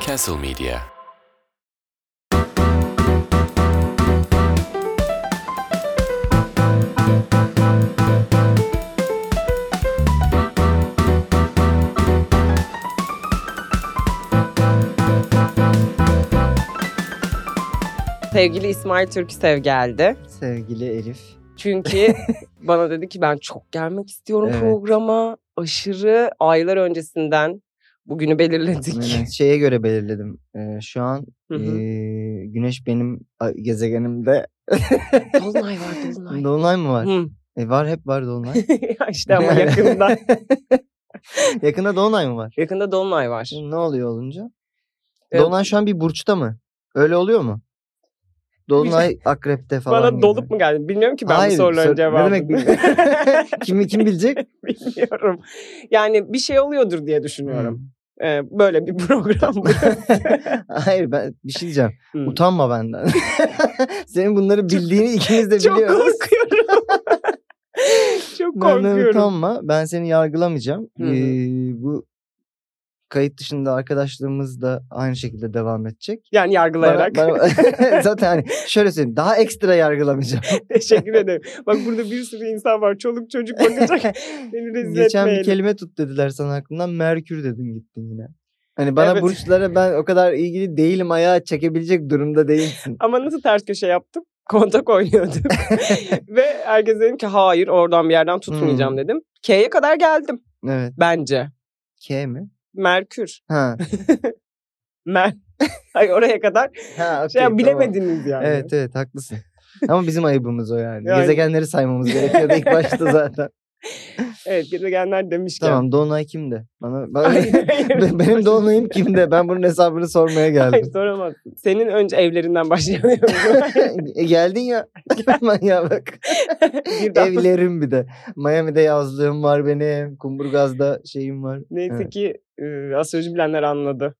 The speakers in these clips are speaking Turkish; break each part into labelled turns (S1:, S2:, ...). S1: Castle Media.
S2: Sevgili İsmail Türküsev geldi.
S3: Sevgili Elif.
S2: Çünkü bana dedi ki ben çok gelmek istiyorum
S3: Evet.
S2: programa. Aşırı aylar öncesinden bugünü belirledik.
S3: Aynen, Şeye göre belirledim. Ee, şu an
S2: Hı hı.
S3: ee, güneş benim a- gezegenimde.
S2: Dolunay E var dolunay.
S3: dolunay mı var?
S2: Hı.
S3: E, var hep var dolunay.
S2: işte ama yakında.
S3: Yakında dolunay mı var?
S2: yakında dolunay var.
S3: Ne oluyor olunca?
S2: Evet.
S3: Dolunay şu an bir burçta mı? Öyle oluyor mu? Dolunay akrepte falan.
S2: Bana
S3: gibi.
S2: dolup mu geldi? Bilmiyorum ki ben bu soruların
S3: sor-
S2: cevabını.
S3: Ne demek bilmiyorum. kim, kim bilecek?
S2: Bilmiyorum. Yani bir şey oluyordur diye
S3: Hmm.
S2: düşünüyorum. Ee, böyle bir program. bu.
S3: Hayır ben bir şey diyeceğim.
S2: Hı.
S3: Utanma benden. Senin bunları bildiğini ikimiz de
S2: Çok
S3: biliyoruz.
S2: korkuyorum. Çok
S3: Benden
S2: korkuyorum.
S3: utanma. Ben seni yargılamayacağım.
S2: Hı hı.
S3: Ee, bu kayıt dışında arkadaşlığımız da aynı şekilde devam edecek.
S2: Yani
S3: Bana-
S2: yargılayarak.
S3: bana- zaten hani şöyle söyleyeyim. Daha ekstra yargılamayacağım.
S2: Teşekkür ederim. Bak burada bir sürü insan var. Çoluk çocuk bakacak. Beni rezil
S3: Geçen bir
S2: etmeyelim.
S3: kelime tut dediler sana aklından. Merkür dedin gittin yine. Hani bana
S2: Evet.
S3: burçlara ben o kadar ilgili değilim ayağa çekebilecek durumda değilsin.
S2: Ama nasıl ters köşe yaptım? Kontak oynuyorduk. Ve herkes dedim ki hayır oradan bir yerden tutmayacağım
S3: Hmm.
S2: dedim. K'ye kadar geldim
S3: Evet.
S2: bence.
S3: K mi?
S2: Merkür.
S3: Ha.
S2: Mer. Ay oraya kadar.
S3: ha
S2: Şey,
S3: okey, tamam.
S2: bilemediniz yani.
S3: Evet evet haklısın. Ama bizim ayıbımız o yani.
S2: Yani.
S3: Gezegenleri saymamız gerekiyordu ilk başta zaten.
S2: Evet gezegenler demişken.
S3: Tamam Dolunay kimde? Bana, bana
S2: Hayır, hayır.
S3: Be- benim Dolunay'ım kimde? Ben bunun hesabını sormaya
S2: Hayır
S3: geldim.
S2: soramazsın. Senin önce evlerinden başlayalım.
S3: E, Geldin ya. Manyağa bak.
S2: Birden.
S3: Evlerim bir de. Miami'de yazlığım var benim. Kumburgaz'da şeyim var.
S2: Neyse
S3: Evet.
S2: ki e, astroloji bilenler anladı.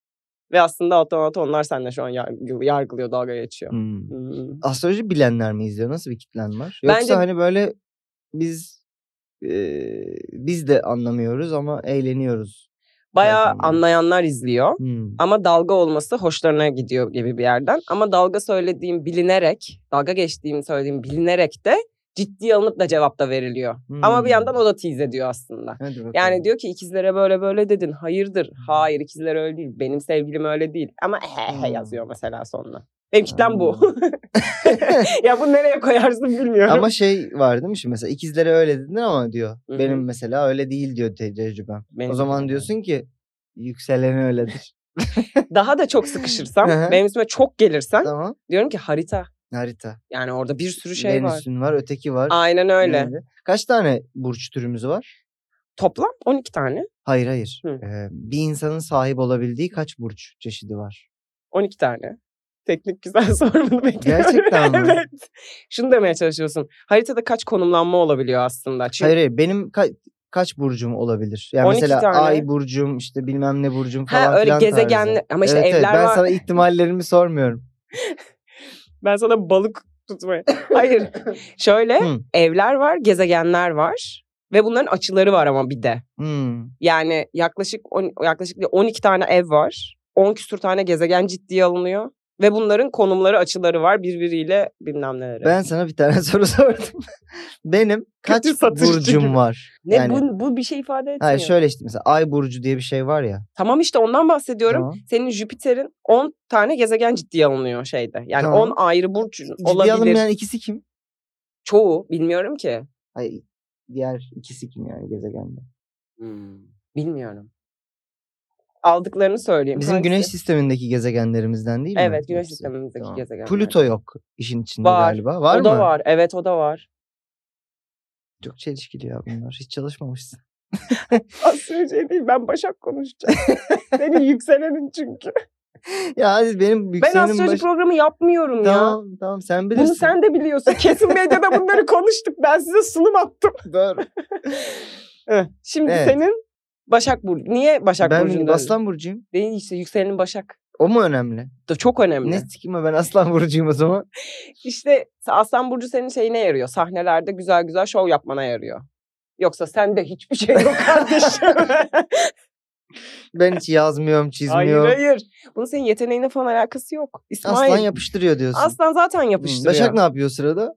S2: Ve aslında otomat onlar seninle şu an yargı- yargılıyor, dalga geçiyor.
S3: Hmm.
S2: Hmm.
S3: Astroloji bilenler mi izliyor? Nasıl bir kitlen var? Yoksa
S2: Bence-
S3: hani böyle biz e, biz de anlamıyoruz ama eğleniyoruz.
S2: Bayağı
S3: Farkındayım.
S2: anlayanlar izliyor.
S3: Hmm.
S2: Ama dalga olması hoşlarına gidiyor gibi bir yerden. Ama dalga söylediğim bilinerek, dalga geçtiğimi söylediğim bilinerek de ciddiye alınıp da cevap da veriliyor. Ama bir
S3: Hmm.
S2: yandan o da tease ediyor aslında.
S3: Hadi bakalım.
S2: Yani diyor ki ikizlere böyle böyle dedin. Hayırdır? Hayır ikizler öyle değil. Benim sevgilim öyle değil. Ama he he
S3: Hmm.
S2: yazıyor mesela sonuna. Benim kitlem bu.
S3: Anladım.
S2: ya bu nereye koyarsın bilmiyorum.
S3: Ama şey var değil mi şimdi mesela ikizlere öyle dedin ama diyor.
S2: Hı hı.
S3: Benim mesela öyle değil diyor te- tecrübem.
S2: Benim
S3: o zaman
S2: tecrübem.
S3: diyorsun ki yükseleni öyledir.
S2: Daha da çok sıkışırsam,
S3: Hı hı.
S2: benim üstüme çok gelirsen
S3: tamam.
S2: diyorum ki harita.
S3: Harita.
S2: Yani orada bir sürü şey var.
S3: Venüs'ün var. öteki var.
S2: Aynen öyle.
S3: neydi? Kaç tane burç türümüz var?
S2: Toplam 12 tane.
S3: Hayır hayır.
S2: Hı.
S3: Ee, bir insanın sahip olabildiği kaç burç çeşidi var?
S2: 12 tane. Teknik güzel sormanı bekliyorum.
S3: Gerçekten mi?
S2: evet. Şunu demeye çalışıyorsun. Haritada kaç konumlanma olabiliyor aslında? Çünkü
S3: Hayır hayır benim ka- kaç burcum olabilir? Yani
S2: 12
S3: mesela
S2: tane.
S3: ay burcum işte bilmem ne burcum
S2: Ha,
S3: falan
S2: öyle
S3: filan
S2: gezegenli-
S3: tarzı.
S2: ama işte
S3: Evet, evet,
S2: evler
S3: Ben
S2: var.
S3: sana ihtimallerimi sormuyorum.
S2: ben sana balık tutmaya. Hayır. Şöyle
S3: Hı.
S2: evler var, gezegenler var ve bunların açıları var ama bir de.
S3: Hmm.
S2: Yani yaklaşık on, yaklaşık bir 12 tane ev var. 10 küsür tane gezegen ciddiye alınıyor ve bunların konumları, açıları var birbiriyle bilmem neleri.
S3: Ben sana bir tane soru sordum. Benim kaç
S2: Kötü satışçı gibi.
S3: burcum var?
S2: ne
S3: yani,
S2: bu, bu bir şey ifade etmiyor.
S3: hayır şöyle işte mesela ay burcu diye bir şey var ya.
S2: Tamam işte ondan bahsediyorum.
S3: Tamam.
S2: Senin Jüpiter'in 10 tane gezegen ciddiye alınıyor şeyde. Yani
S3: Tamam.
S2: 10 ayrı burç
S3: Ciddiye
S2: olabilir.
S3: alınmayan ikisi kim?
S2: Çoğu bilmiyorum ki.
S3: Ay, diğer ikisi kim yani gezegende?
S2: Bilmiyorum. Aldıklarını söyleyeyim.
S3: Bizim
S2: Hangisi?
S3: güneş sistemindeki gezegenlerimizden değil mi?
S2: Evet güneş
S3: Hepsi.
S2: sistemimizdeki
S3: Tamam.
S2: gezegenler.
S3: Plüto yok işin içinde
S2: Var.
S3: galiba. Var
S2: o
S3: mı?
S2: da var. Evet o da var.
S3: Çok çelişkili ya bunlar. Hiç çalışmamışsın.
S2: Astroloji şey değil ben Başak konuşacağım. Senin yükselenin çünkü.
S3: ya hadi benim
S2: Ben
S3: yükselenim
S2: astroloji
S3: baş-
S2: programı yapmıyorum ya.
S3: Tamam tamam sen bilirsin.
S2: Bunu sen de biliyorsun. Kesin medyada bunları konuştuk. Ben size sunum attım.
S3: Doğru.
S2: Evet. Şimdi
S3: Eh, Evet.
S2: senin Başak Burcu. Niye Başak
S3: ben
S2: Burcu'nda?
S3: aslan burcuyum.
S2: Değil işte yükselenin Başak.
S3: O mu önemli?
S2: Da çok önemli.
S3: Ne sikime ben aslan burcuyum o zaman.
S2: İşte Aslan Burcu senin şeyine yarıyor. Sahnelerde güzel güzel şov yapmana yarıyor. Yoksa sende hiçbir şey yok kardeşim.
S3: Ben hiç yazmıyorum,
S2: Hayır
S3: çizmiyorum.
S2: hayır. Bunun senin yeteneğine falan alakası yok. İsmail.
S3: Aslan yapıştırıyor diyorsun.
S2: Aslan zaten
S3: Hmm,
S2: yapıştırıyor.
S3: Başak
S2: Başak,
S3: ne yapıyor o sırada?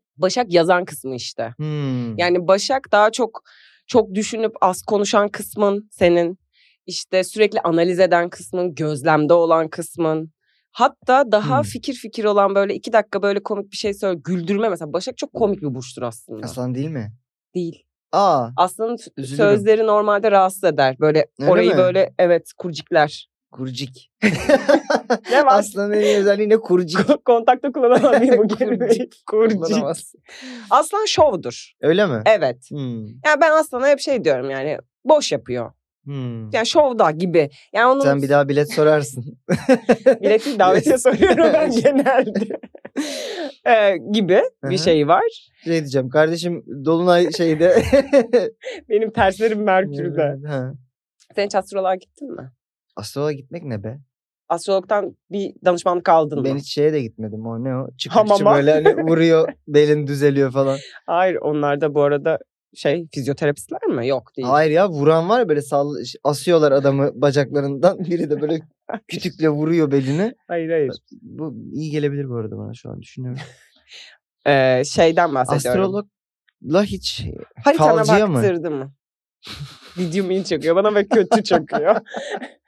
S2: yazan kısmı işte.
S3: Hmm.
S2: Yani Başak daha çok çok düşünüp az konuşan kısmın senin. işte sürekli analiz eden kısmın, gözlemde olan kısmın. Hatta daha
S3: Hmm.
S2: fikir fikir olan böyle iki dakika böyle komik bir şey söyle güldürme mesela. Başak çok komik bir burçtur aslında.
S3: Aslan değil mi?
S2: Değil.
S3: Aa.
S2: Aslanın f-
S3: Üzülürüm.
S2: sözleri normalde rahatsız eder. Böyle
S3: Öyle
S2: orayı
S3: mi?
S2: böyle evet kurcikler.
S3: Kurcik.
S2: Ne var?
S3: Aslanın en iyi özelliği ne? Kurcik.
S2: Ko- Kontakta kullanamam bir bu kelimeyi. Kurcik.
S3: Kullanamaz.
S2: Aslan şovdur.
S3: Öyle mi?
S2: Evet.
S3: Hmm.
S2: Yani ben aslana hep şey diyorum yani boş yapıyor.
S3: Hmm.
S2: Yani şovda gibi. Yani onun
S3: Sen bir daha bilet sorarsın.
S2: bileti davetiye soruyorum ben genelde. Ee, gibi
S3: Aha.
S2: bir şey var.
S3: Şey diyeceğim kardeşim Dolunay şeyde.
S2: Benim terslerim Merkür'de.
S3: Ha.
S2: Sen hiç astroloğa gittin mi?
S3: Astroloğa gitmek ne be?
S2: Astrologdan bir danışmanlık aldın
S3: Ben
S2: mı?
S3: hiç şeye de gitmedim. O ne o? Çıkıkçı
S2: Hamama.
S3: böyle hani vuruyor belin düzeliyor falan.
S2: Hayır onlar da bu arada şey fizyoterapistler mi? Yok değil.
S3: Hayır ya vuran var ya böyle sall asıyorlar adamı bacaklarından. Biri de böyle kütükle vuruyor belini.
S2: Hayır hayır.
S3: Bu iyi gelebilir bu arada bana şu an düşünüyorum.
S2: Ee, şeyden bahsediyorum.
S3: Astrologla hiç
S2: Haritana
S3: Falcıya mı?
S2: baktırdı mı? Videomu iyi çakıyor. Bana böyle kötü çakıyor.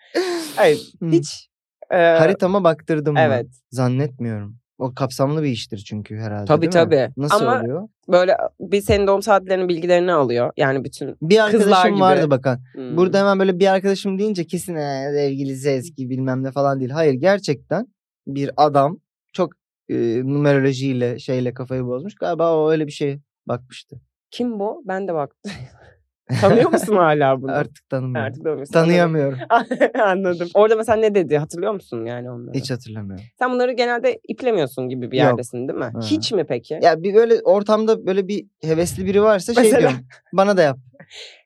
S2: Hayır.
S3: Hı.
S2: Hiç. e,
S3: haritama baktırdım hmm. mı?
S2: evet.
S3: Zannetmiyorum. O kapsamlı bir iştir çünkü herhalde
S2: Tabii,
S3: değil mi?
S2: tabii.
S3: Nasıl
S2: Ama-
S3: oluyor?
S2: Böyle bir senin doğum saatlerinin bilgilerini alıyor. Yani bütün.
S3: Bir
S2: Kızlar
S3: arkadaşım
S2: gibi.
S3: vardı bakan.
S2: Hmm.
S3: Burada hemen böyle bir arkadaşım deyince kesin "Ee, sevgilisi eski bilmem ne falan değil. Hayır gerçekten bir adam çok e, numerolojiyle şeyle kafayı bozmuş. Galiba o öyle bir şey bakmıştı.
S2: Kim bu? Ben de baktım. Tanıyor musun hala bunu?
S3: Artık tanımıyorum.
S2: Artık tanımıyorsun.
S3: Tanıyamıyorum.
S2: Anladım. Anladım. Orada mesela ne dedi hatırlıyor musun yani onları?
S3: Hiç hatırlamıyorum.
S2: Sen bunları genelde iplemiyorsun gibi bir
S3: Yok.
S2: yerdesin değil mi?
S3: Hı.
S2: Hiç mi peki?
S3: Ya bir böyle ortamda böyle bir hevesli biri varsa şey
S2: Mesela-
S3: diyorum. Bana da yap.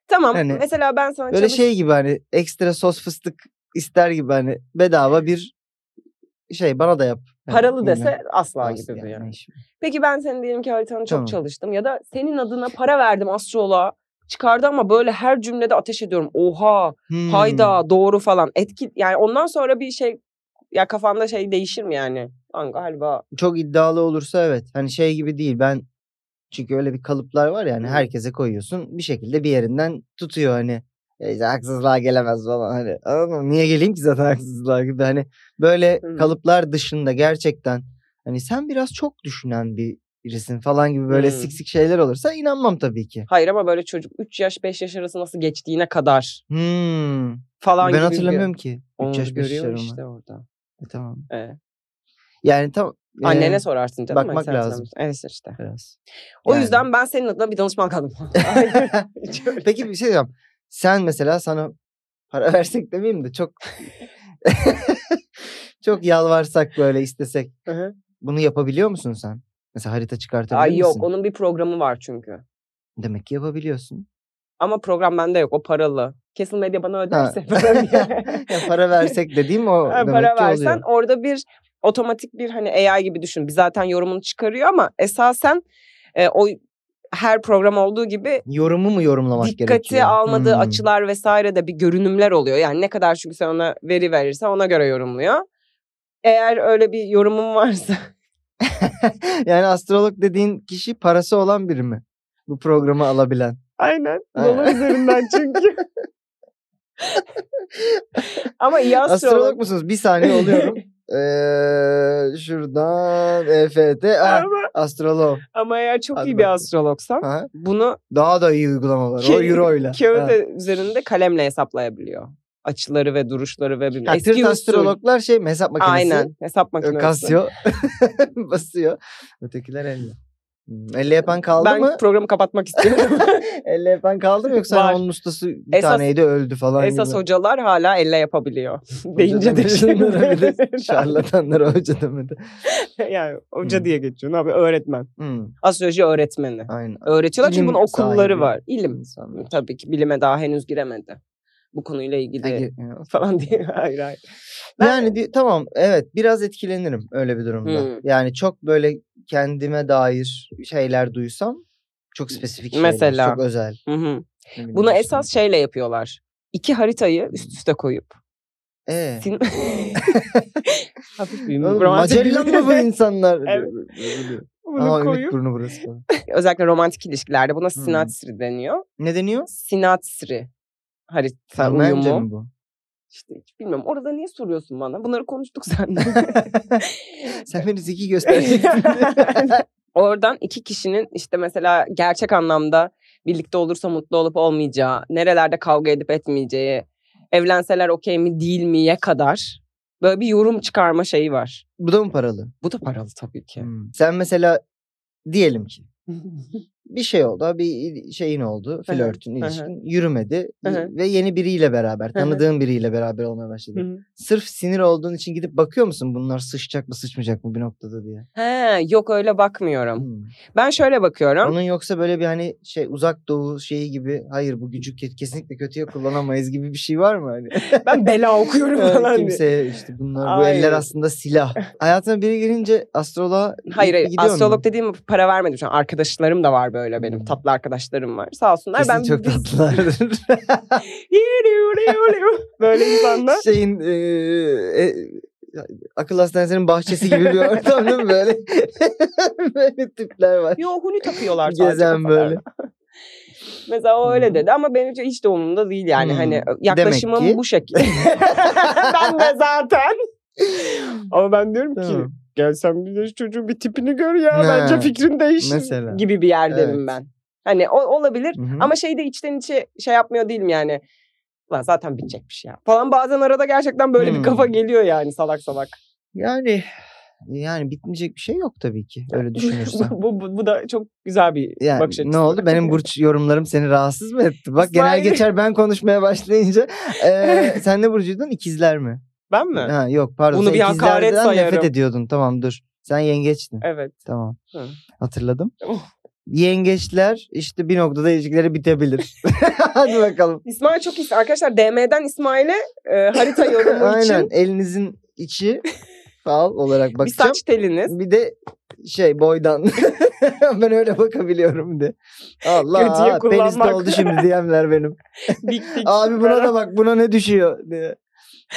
S2: tamam.
S3: hani
S2: mesela ben sana
S3: Böyle
S2: çalış-
S3: şey gibi hani ekstra sos fıstık ister gibi hani bedava bir şey bana da yap. Hani
S2: paralı
S3: bilmem.
S2: dese asla
S3: Nasıl
S2: gibi
S3: yani,
S2: bir yani.
S3: ne iş var?
S2: Peki ben senin diyelim ki haritanı çok
S3: Tamam.
S2: çalıştım ya da senin adına para verdim astroloğa. Çıkardı ama böyle her cümlede ateş ediyorum. Oha,
S3: Hmm.
S2: hayda, doğru falan. Etki yani ondan sonra bir şey ya kafanda şey değişir mi yani? Lan galiba
S3: Hmm, Çok iddialı olursa evet. Hani şey gibi değil ben çünkü öyle bir kalıplar var ya hani
S2: Hı.
S3: herkese koyuyorsun bir şekilde bir yerinden tutuyor hani. E, işte haksızlığa gelemez falan hani. Anladın mı? Niye geleyim ki zaten haksızlığa gibi hani böyle
S2: Hı.
S3: kalıplar dışında gerçekten hani sen biraz çok düşünen bir birisin falan gibi böyle
S2: Hı.
S3: siksik şeyler olursa inanmam tabii ki.
S2: hayır ama böyle çocuk 3 yaş 5 yaş arası nasıl geçtiğine kadar
S3: Hmm.
S2: falan gibi.
S3: Ben
S2: bir- şey.
S3: hatırlamıyorum ki. 3
S2: Onu
S3: yaş 5 yaş
S2: görüyor
S3: arama.
S2: işte orada.
S3: E, tamam.
S2: Ee,
S3: Yani tam
S2: annene
S3: Ee,
S2: sorarsın canım. hani
S3: bakmak
S2: sen
S3: lazım.
S2: hatırlamıyorsun. Evet işte.
S3: biraz.
S2: O
S3: Yani.
S2: yüzden ben senin adına bir danışman kaldım.
S3: Peki bir şey diyeceğim. Sen mesela sana para versek demeyeyim de çok çok yalvarsak böyle istesek bunu yapabiliyor musun sen? Mesela harita çıkartabilir
S2: Ay yok
S3: misin?
S2: onun bir programı var çünkü.
S3: Demek ki yapabiliyorsun.
S2: Ama program bende yok. O paralı. Kesin medya bana
S3: Ha.
S2: öderse. falan diye.
S3: ya para versek dediğim o
S2: Ha,
S3: demek
S2: para
S3: ki
S2: versen
S3: oluyor.
S2: orada bir otomatik bir hani AI gibi düşün. Biz zaten yorumunu çıkarıyor ama esasen e, o her program olduğu gibi
S3: Yorumu mu yorumlamak
S2: dikkati
S3: gerekiyor?
S2: almadığı
S3: Hmm.
S2: açılar vesaire de bir görünümler oluyor. Yani ne kadar çünkü sen ona veri verirse ona göre yorumluyor. Eğer öyle bir yorumum varsa
S3: yani astrolog dediğin kişi parası olan biri mi? Bu programı alabilen.
S2: Aynen.
S3: Ha.
S2: Dolar üzerinden çünkü. Ama iyi astrolog.
S3: Astrolog musunuz? Bir saniye oluyorum. Ee, şuradan EFT. Ah,
S2: ama,
S3: astrolog.
S2: ama eğer çok
S3: Hadi
S2: iyi
S3: bakalım.
S2: bir astrologsam
S3: Ha?
S2: bunu
S3: Daha da iyi uygulama var. O
S2: Ke-
S3: euro ile.
S2: kağıt e, üzerinde kalemle hesaplayabiliyor. Açıları ve duruşları ve bilmem.
S3: Ha,
S2: Eski
S3: Türk
S2: usul.
S3: astrologlar şey mi, hesap makinesi.
S2: Aynen. Hesap
S3: Ö,
S2: makinesi.
S3: Casio basıyor. Ötekiler elle. Hmm, Elle yapan kaldı
S2: ben
S3: mı?
S2: programı kapatmak istiyorum.
S3: Elle yapan kaldı mı yoksa
S2: Var.
S3: onun ustası bir
S2: Esas-
S3: taneydi öldü falan
S2: Esas
S3: gibi.
S2: hocalar hala elle yapabiliyor.
S3: Hoca
S2: Deyince de şey
S3: demedi,
S2: şimdi.
S3: şunlara bir de Şarlatanlara hoca demedi.
S2: yani hoca
S3: Hmm.
S2: diye geçiyor. Ne yapıyor? Öğretmen.
S3: Hmm,
S2: Astroloji öğretmeni.
S3: aynen.
S2: Öğretiyorlar çünkü
S3: İlim
S2: bunun okulları
S3: sahibi
S2: var. İlim.
S3: insanlar.
S2: Tabii ki bilime daha henüz giremedi. Bu konuyla ilgili
S3: Peki, e, ya.
S2: falan diye. hayır hayır. Ben-
S3: Yani di- tamam evet biraz etkilenirim öyle bir durumda.
S2: Hmm.
S3: Yani çok böyle kendime dair şeyler duysam çok spesifik şeyler,
S2: Mesela.
S3: çok özel.
S2: Hı hı.
S3: Ne bileyim
S2: Bunu
S3: işte.
S2: esas şeyle yapıyorlar. İki haritayı üst üste koyup
S3: Ee,
S2: Sin... Hafif bir
S3: oğlum,
S2: romantik bir-
S3: Magellan mı bu insanlar?
S2: Evet. Bunu
S3: Ama ümit
S2: koyup-
S3: burnu burası. falan.
S2: Özellikle romantik ilişkilerde buna
S3: Hmm.
S2: sinatri deniyor.
S3: Ne deniyor?
S2: Sinatri harita
S3: Sandalye
S2: uyumu.
S3: mi bu?
S2: İşte hiç bilmiyorum. Orada niye soruyorsun bana? Bunları konuştuk seninle.
S3: Sen beni zeki gösterecektin.
S2: Oradan iki kişinin işte mesela gerçek anlamda birlikte olursa mutlu olup olmayacağı, nerelerde kavga edip etmeyeceği, evlenseler okey mi değil miye kadar böyle bir yorum çıkarma şeyi var.
S3: bu da mı paralı?
S2: Bu da paralı tabii ki.
S3: Hmm. Sen mesela diyelim ki bir şey oldu. Bir il- şeyin oldu.
S2: Hı hı,
S3: Flörtün,
S2: hı hı.
S3: ilişkin. Yürümedi.
S2: Hı hı.
S3: Ve yeni biriyle beraber.
S2: Hı hı.
S3: Tanıdığın biriyle beraber olmaya başladı. Sırf sinir olduğun için gidip bakıyor musun? Bunlar sıçacak mı sıçmayacak mı bir noktada diye.
S2: He, yok öyle bakmıyorum.
S3: Hmm.
S2: Ben şöyle bakıyorum.
S3: Onun yoksa böyle bir hani şey uzak doğu şeyi gibi hayır bu gücü ke- kesinlikle kötüye kullanamayız gibi bir şey var mı? Hani?
S2: Ben bela okuyorum
S3: Yani
S2: falan diye.
S3: Kimseye işte bunlar bu eller
S2: Hayır.
S3: aslında silah. Hayatına biri girince astroloğa
S2: Hayır, hayır.
S3: gidiyor mu?
S2: astrolog dediğim para vermedim şu an. Arkadaşlarım da var böyle benim.
S3: Hmm.
S2: Tatlı arkadaşlarım var. Sağ olsunlar.
S3: Kesin
S2: ben
S3: çok
S2: biz-
S3: tatlılardır.
S2: böyle insanlar.
S3: Şeyin e, e, akıl hastanesinin bahçesi gibi bir ortam değil mi? Böyle, böyle tipler var.
S2: Yo huni takıyorlar sadece
S3: Gezen böyle.
S2: kafalarına. Mesela o öyle
S3: Hmm.
S2: dedi ama benim için hiç de umurumda değil yani.
S3: Hmm.
S2: Hani
S3: Demek
S2: yaklaşımım
S3: ki-
S2: bu şekilde. ben de zaten. Ama ben diyorum
S3: Tamam.
S2: gelsen bir de şu çocuğun bir tipini gör ya.
S3: Ne?
S2: fikrin değişir
S3: Mesela.
S2: gibi bir yerdenim
S3: Evet.
S2: ben. Hani o, olabilir
S3: Hı hı.
S2: ama şey de içten içe şey yapmıyor değilim yani. Lan zaten bitecekmiş ya. Falan bazen arada gerçekten böyle
S3: Hmm.
S2: bir kafa geliyor yani salak salak.
S3: Yani yani bitmeyecek bir şey yok tabii ki. Öyle düşünürsen.
S2: bu, bu, bu da çok güzel bir
S3: Yani
S2: bakış açısı.
S3: ne oldu? Benim burç yorumlarım seni rahatsız mı etti? Bak genel
S2: İsmail-
S3: geçer ben konuşmaya başlayınca. Eee sen ne burcuydun? İkizler mi?
S2: Ben mi?
S3: Ha, yok pardon.
S2: Bunu
S3: sen
S2: bir hakaret
S3: ikizlerden nefret
S2: sayarım.
S3: ediyordun. Tamam dur. Sen yengeçtin.
S2: Evet.
S3: Tamam.
S2: Hı.
S3: Hatırladım.
S2: Oh.
S3: Yengeçler işte bir noktada ilişkileri bitebilir. Hadi bakalım.
S2: İsmail çok iyi. Arkadaşlar DM'den İsmail'e e, harita yorumu
S3: Aynen.
S2: için
S3: Elinizin içi fal olarak
S2: bir
S3: bakacağım.
S2: saç teliniz.
S3: Bir de şey boydan. ben öyle bakabiliyorum de. Allah
S2: Kötüye
S3: penis
S2: kullanmak.
S3: oldu şimdi diyenler benim.
S2: Big big.
S3: Abi buna da bak buna ne düşüyor diye.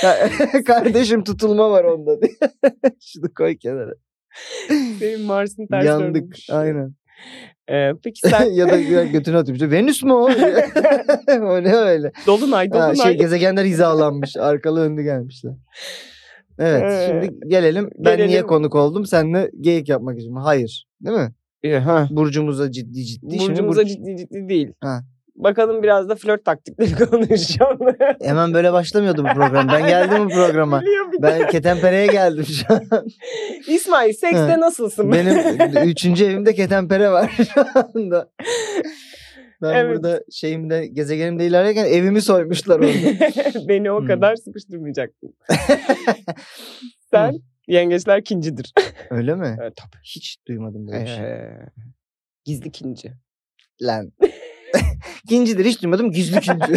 S3: Ka- Kardeşim tutulma var onda diye. Şunu koy kenara.
S2: Benim Mars'ın tersi
S3: Yandık.
S2: dönmüş.
S3: Aynen.
S2: E, peki sen
S3: ya da ya götünü atıp işte Venüs mü o? o ne öyle?
S2: Dolunay
S3: Ha,
S2: Dolunay.
S3: şey gezegenler hizalanmış. Arkalı önlü gelmişler. Evet
S2: Ee,
S3: şimdi gelelim. Ben niye
S2: gelelim.
S3: konuk oldum? Seninle geyik yapmak için. mi? Hayır. Değil mi? Burcumuza ciddi ciddi. şimdi
S2: Burcumuza
S3: burc-
S2: ciddi ciddi değil.
S3: Ha.
S2: Bakalım biraz da flört taktikleri konuşacağım.
S3: Hemen böyle başlamıyordu bu program. Ben geldim bu programa.
S2: Biliyor bir de.
S3: Ben ketenpereye geldim şu an.
S2: İsmail sekste
S3: Ha.
S2: nasılsın?
S3: Benim üçüncü evimde ketenpere var şu anda. Ben
S2: Evet.
S3: burada şeyimde gezegenimde ilerlerken evimi soymuşlar orada.
S2: Beni o
S3: Hmm.
S2: kadar sıkıştırmayacaktın. sen yengeçler kincidir.
S3: Öyle mi?
S2: Evet, tabii.
S3: Hiç duymadım böyle bir şey.
S2: Ee, gizli kinci.
S3: Lan. İkincidir hiç duymadım gizli üçüncü.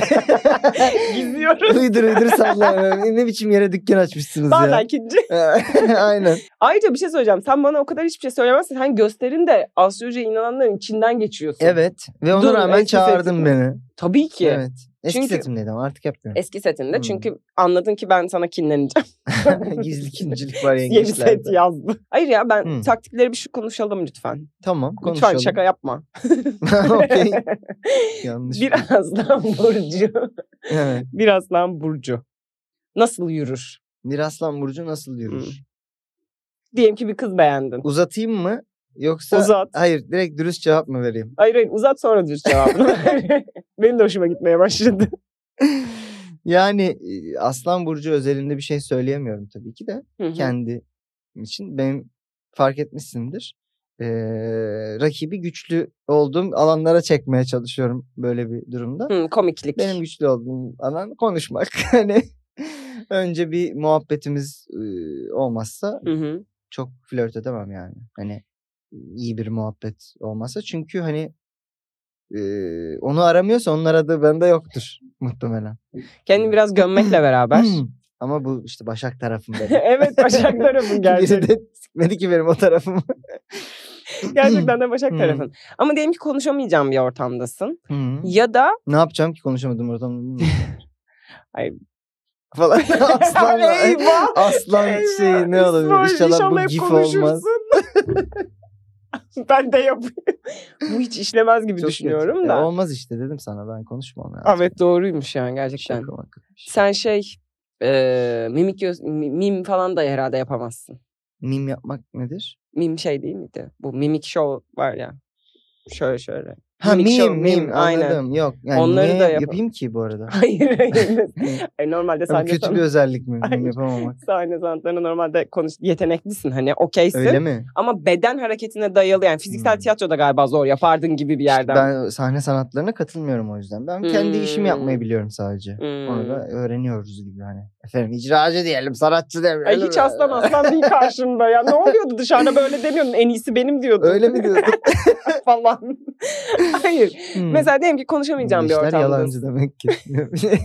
S2: Gizliyoruz.
S3: uydur uydur sallar. Ne biçim yere dükkan açmışsınız
S2: Bazen kinci.
S3: ya. Aynen.
S2: Ayrıca bir şey söyleyeceğim. Sen bana o kadar hiçbir şey söylemezsin. Sen gösterin de astrolojiye inananların içinden geçiyorsun.
S3: Evet. Ve ona
S2: Dur,
S3: rağmen
S2: eski
S3: çağırdın
S2: setim.
S3: beni.
S2: Tabii ki.
S3: Evet. Eski
S2: Çünkü-
S3: setimdeydim ama artık yapmıyorum.
S2: Eski setinde.
S3: Hmm.
S2: Çünkü anladın ki ben sana kinleneceğim.
S3: Gizli ikincilik var
S2: Yeni
S3: yengeçlerde.
S2: set yazdı. Hayır ya ben
S3: Hmm.
S2: taktikleri bir şu konuşalım lütfen.
S3: Tamam konuşalım.
S2: Lütfen şaka yapma.
S3: Okey. Yanlış.
S2: bir aslan burcu.
S3: Evet.
S2: Bir aslan burcu. Nasıl yürür?
S3: Bir aslan burcu nasıl yürür?
S2: Hmm. Diyelim ki bir kız beğendin.
S3: Uzatayım mı? Yoksa
S2: Uzat.
S3: hayır direkt dürüst cevap mı vereyim?
S2: Hayır hayır uzat sonra düz cevabını. ver. Benim de hoşuma gitmeye başladı.
S3: yani e, aslan burcu özelinde bir şey söyleyemiyorum tabii ki de. kendi için benim fark etmişsindir. Ee, rakibi güçlü olduğum alanlara çekmeye çalışıyorum böyle bir durumda.
S2: Hı, komiklik.
S3: Benim güçlü olduğum alan konuşmak. hani önce bir muhabbetimiz e, olmazsa
S2: Hı hı.
S3: çok flört edemem yani. Hani iyi bir muhabbet olmazsa çünkü hani e, onu aramıyorsa onun aradığı bende yoktur muhtemelen.
S2: Kendini biraz gömmekle beraber.
S3: Hmm. Ama bu işte Başak tarafım benim.
S2: evet Başak tarafın gerçekten.
S3: Biri de sikmedi ki benim o tarafımı.
S2: gerçekten de Başak
S3: Hı.
S2: tarafın. Ama diyelim ki konuşamayacağım bir ortamdasın.
S3: Hı.
S2: Ya da
S3: Ne yapacağım ki konuşamadım oradan.
S2: Ay,
S3: falan. Aslanla.
S2: Eyvah!
S3: Aslan
S2: Eyvah!
S3: şey ne olabilir?
S2: İsmail,
S3: İnşallah bu
S2: hep
S3: gif olmaz.
S2: konuşursun. ben de yapayım. Bu hiç işlemez gibi
S3: Çok
S2: düşünüyorum
S3: kötü. E,
S2: da.
S3: olmaz işte dedim sana ben konuşmam lazım.
S2: Evet doğruymuş yani gerçekten.
S3: Şaka maka.
S2: Sen şey e, mimik göz- mi- mim falan da herhalde yapamazsın.
S3: Mim yapmak nedir?
S2: Mim şey değil miydi? Bu mimik show var ya. Şöyle şöyle.
S3: Ha mim
S2: Mimik
S3: mim,
S2: show, mim, aynen.
S3: anladım. Yok yani
S2: Onları
S3: niye
S2: da yap-
S3: yapayım ki bu arada?
S2: Hayır hayır.
S3: Hani
S2: Ay, E, normalde
S3: Tabii
S2: sahne,
S3: kötü
S2: san-
S3: bir özellik mi mim
S2: Hayır.
S3: yapamamak?
S2: sahne sanatlarına normalde konuş yeteneklisin hani okeysin.
S3: Öyle mi?
S2: Ama beden hareketine dayalı yani fiziksel
S3: Hmm.
S2: tiyatroda galiba zor yapardın gibi bir
S3: İşte
S2: yerden.
S3: ben sahne sanatlarına katılmıyorum o yüzden. Ben kendi işimi yapmayı
S2: Hmm.
S3: biliyorum sadece.
S2: Hmm.
S3: Onu da öğreniyoruz gibi hani. Efendim icracı diyelim, sanatçı diyelim.
S2: Ay hiç aslan aslan değil karşımda ya. Ne oluyordu dışarıda böyle demiyordun. En iyisi benim diyordun.
S3: Öyle mi diyordun?
S2: Falan. Hayır.
S3: Hmm.
S2: Mesela diyelim ki konuşamayacağım bir
S3: Bunun işler
S2: ortamda.
S3: yalancı demek Hmm. ki.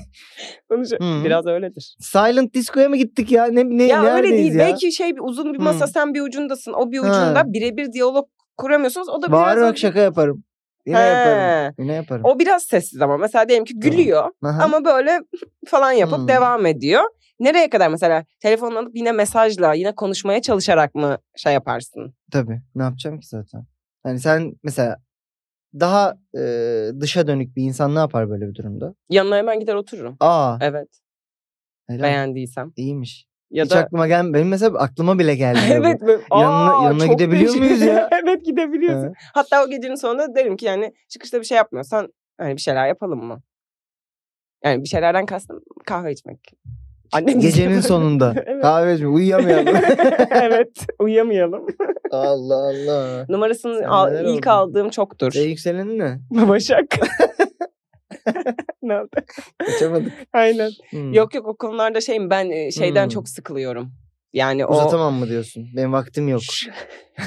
S2: Konuş-
S3: Hı.
S2: Biraz öyledir.
S3: Silent Disco'ya mı gittik ya? Ne, ne,
S2: ya öyle
S3: Şey, neredeyiz
S2: değil.
S3: ya?
S2: Belki şey bir uzun bir masa
S3: Hı.
S2: sen bir ucundasın. O bir
S3: Ha.
S2: ucunda birebir diyalog kuramıyorsunuz. O da biraz...
S3: Bağırarak şaka yaparım. şey? Yine yaparım.
S2: He.
S3: Yine yaparım.
S2: O biraz sessiz ama. Mesela diyelim ki
S3: Tamam.
S2: gülüyor.
S3: Aha.
S2: Ama böyle falan yapıp
S3: Hmm.
S2: devam ediyor. Nereye kadar mesela telefonla alıp yine mesajla yine konuşmaya çalışarak mı şey yaparsın?
S3: Tabii. Ne yapacağım ki zaten? Hani sen mesela daha e, dışa dönük bir insan ne yapar böyle bir durumda?
S2: Yanına hemen gider otururum.
S3: Aa,
S2: Evet
S3: helal.
S2: beğendiysem.
S3: İyiymiş.
S2: Ya
S3: Hiç
S2: da
S3: aklıma gelmedi. Benim mesela aklıma bile geldi.
S2: evet böyle,
S3: Yanına-
S2: "Aa,
S3: yanına
S2: çok
S3: gidebiliyor
S2: değişik."
S3: muyuz ya?
S2: evet gidebiliyorsun. Hatta o gecenin sonunda derim ki yani çıkışta bir şey yapmıyorsan hani bir şeyler yapalım mı? Yani bir şeylerden kastım kahve içmek. Annem
S3: Gecenin sonunda.
S2: Evet.
S3: Kahve içme. Uyuyamayalım.
S2: evet uyuyamayalım.
S3: Allah Allah. Sen
S2: Numarasını al-
S3: neler
S2: ilk
S3: oldun?
S2: aldığım çoktur.
S3: E yükselenin ne?
S2: Başak. ne oldu?
S3: Kaçamadık.
S2: Aynen.
S3: Hmm.
S2: Yok yok o konularda şeyim ben e, şeyden
S3: Hmm.
S2: çok sıkılıyorum. Yani o
S3: Uzatamam mı diyorsun? Benim vaktim yok.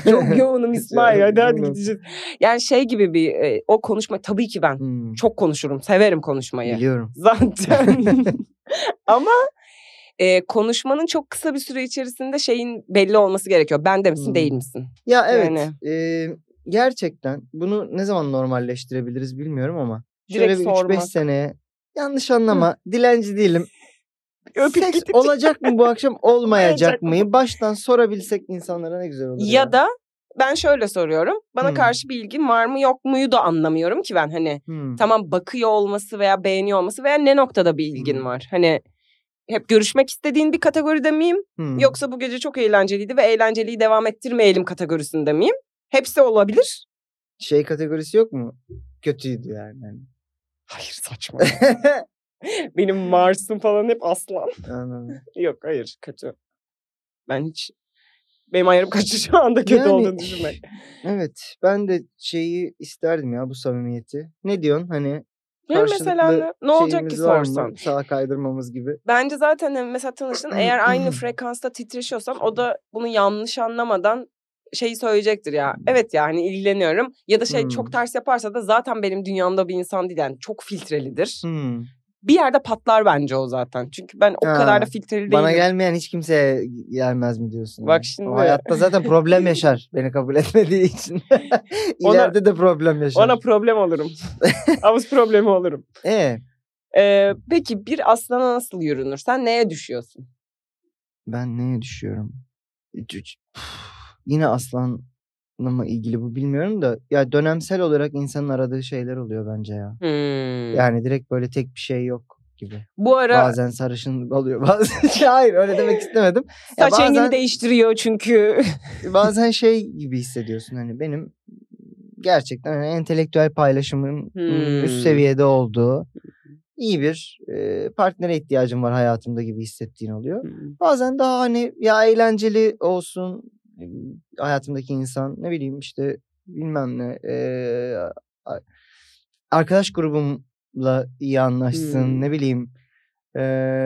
S2: çok yoğunum İsmail hadi hadi
S3: Bilmiyorum.
S2: gideceğiz. Yani şey gibi bir e, o konuşma tabii ki ben
S3: Hmm.
S2: çok konuşurum severim konuşmayı.
S3: Biliyorum.
S2: Zaten ama e, konuşmanın çok kısa bir süre içerisinde şeyin belli olması gerekiyor. Ben de misin
S3: Hmm.
S2: değil misin?
S3: Ya evet.
S2: Yani.
S3: e, gerçekten bunu ne zaman normalleştirebiliriz bilmiyorum ama.
S2: Direkt
S3: Şöyle bir 3-5
S2: sormak.
S3: seneye yanlış anlama dilenci değilim.
S2: Öpüp
S3: Seks
S2: gidecek.
S3: olacak mı bu akşam olmayacak
S2: Olmayacak
S3: mı? Baştan sorabilsek insanlara ne güzel olur.
S2: Ya da ben şöyle soruyorum. Bana
S3: Hmm.
S2: karşı bir ilgin var mı yok muyu da anlamıyorum ki ben hani.
S3: Hmm.
S2: tamam bakıyor olması veya beğeniyor olması veya ne noktada bir ilgin
S3: Hmm.
S2: var? Hani hep görüşmek istediğin bir kategoride miyim?
S3: Hmm.
S2: Yoksa bu gece çok eğlenceliydi ve eğlenceliyi devam ettirmeyelim kategorisinde miyim? Hepsi olabilir.
S3: Şey kategorisi yok mu? Kötüydü yani. Hani.
S2: Hayır saçma. Benim Mars'ım falan hep aslan.
S3: Anladım.
S2: Yok hayır kötü. Ben hiç benim ayarım kaçtı şu anda kötü
S3: Yani-
S2: olduğunu düşünmek.
S3: evet. Ben de şeyi isterdim ya bu samimiyeti. Ne diyorsun hani?
S2: Ne mesela ne,
S3: karşılıklı
S2: ne olacak ki
S3: şeyimiz var mı?
S2: sorsan?
S3: Sağa kaydırmamız gibi.
S2: Bence zaten hani mesela tanıştın eğer aynı frekansta titreşiyorsan o da bunu yanlış anlamadan şeyi söyleyecektir ya. Evet ya hani ilgileniyorum ya da şey
S3: Hmm.
S2: çok ters yaparsa da zaten benim dünyamda bir insan değil yani çok filtrelidir.
S3: Hmm.
S2: Bir yerde patlar bence o zaten. Çünkü ben o kadar da
S3: Ha,
S2: filtreli
S3: Bana
S2: değilim.
S3: gelmeyen hiç kimseye gelmez mi diyorsun?
S2: Bak
S3: yani?
S2: şimdi-
S3: O hayatta zaten problem yaşar beni kabul etmediği için.
S2: Ona-
S3: İleride de problem yaşar.
S2: Ona problem olurum. Havuz problemi olurum.
S3: Ee,
S2: Ee, peki bir aslana nasıl yürünür? Sen neye düşüyorsun?
S3: ben neye düşüyorum? Üç- üç- Yine aslanla ilgili bu bilmiyorum da ya dönemsel olarak insanın aradığı şeyler oluyor bence ya.
S2: Hmm.
S3: Yani direkt böyle tek bir şey yok gibi.
S2: Bu ara
S3: Bazen sarışın oluyor. Bazen şey, hayır öyle demek istemedim. ya
S2: saç rengini
S3: bazen-
S2: değiştiriyor çünkü.
S3: bazen şey gibi hissediyorsun hani benim gerçekten hani entelektüel paylaşımın
S2: Hmm.
S3: üst seviyede olduğu iyi bir e, partnere ihtiyacım var hayatımda gibi hissettiğin oluyor. Bazen daha hani ya eğlenceli olsun e, hayatımdaki insan ne bileyim işte bilmem ne e, a- arkadaş grubumla iyi anlaşsın
S2: Hmm.
S3: ne bileyim e,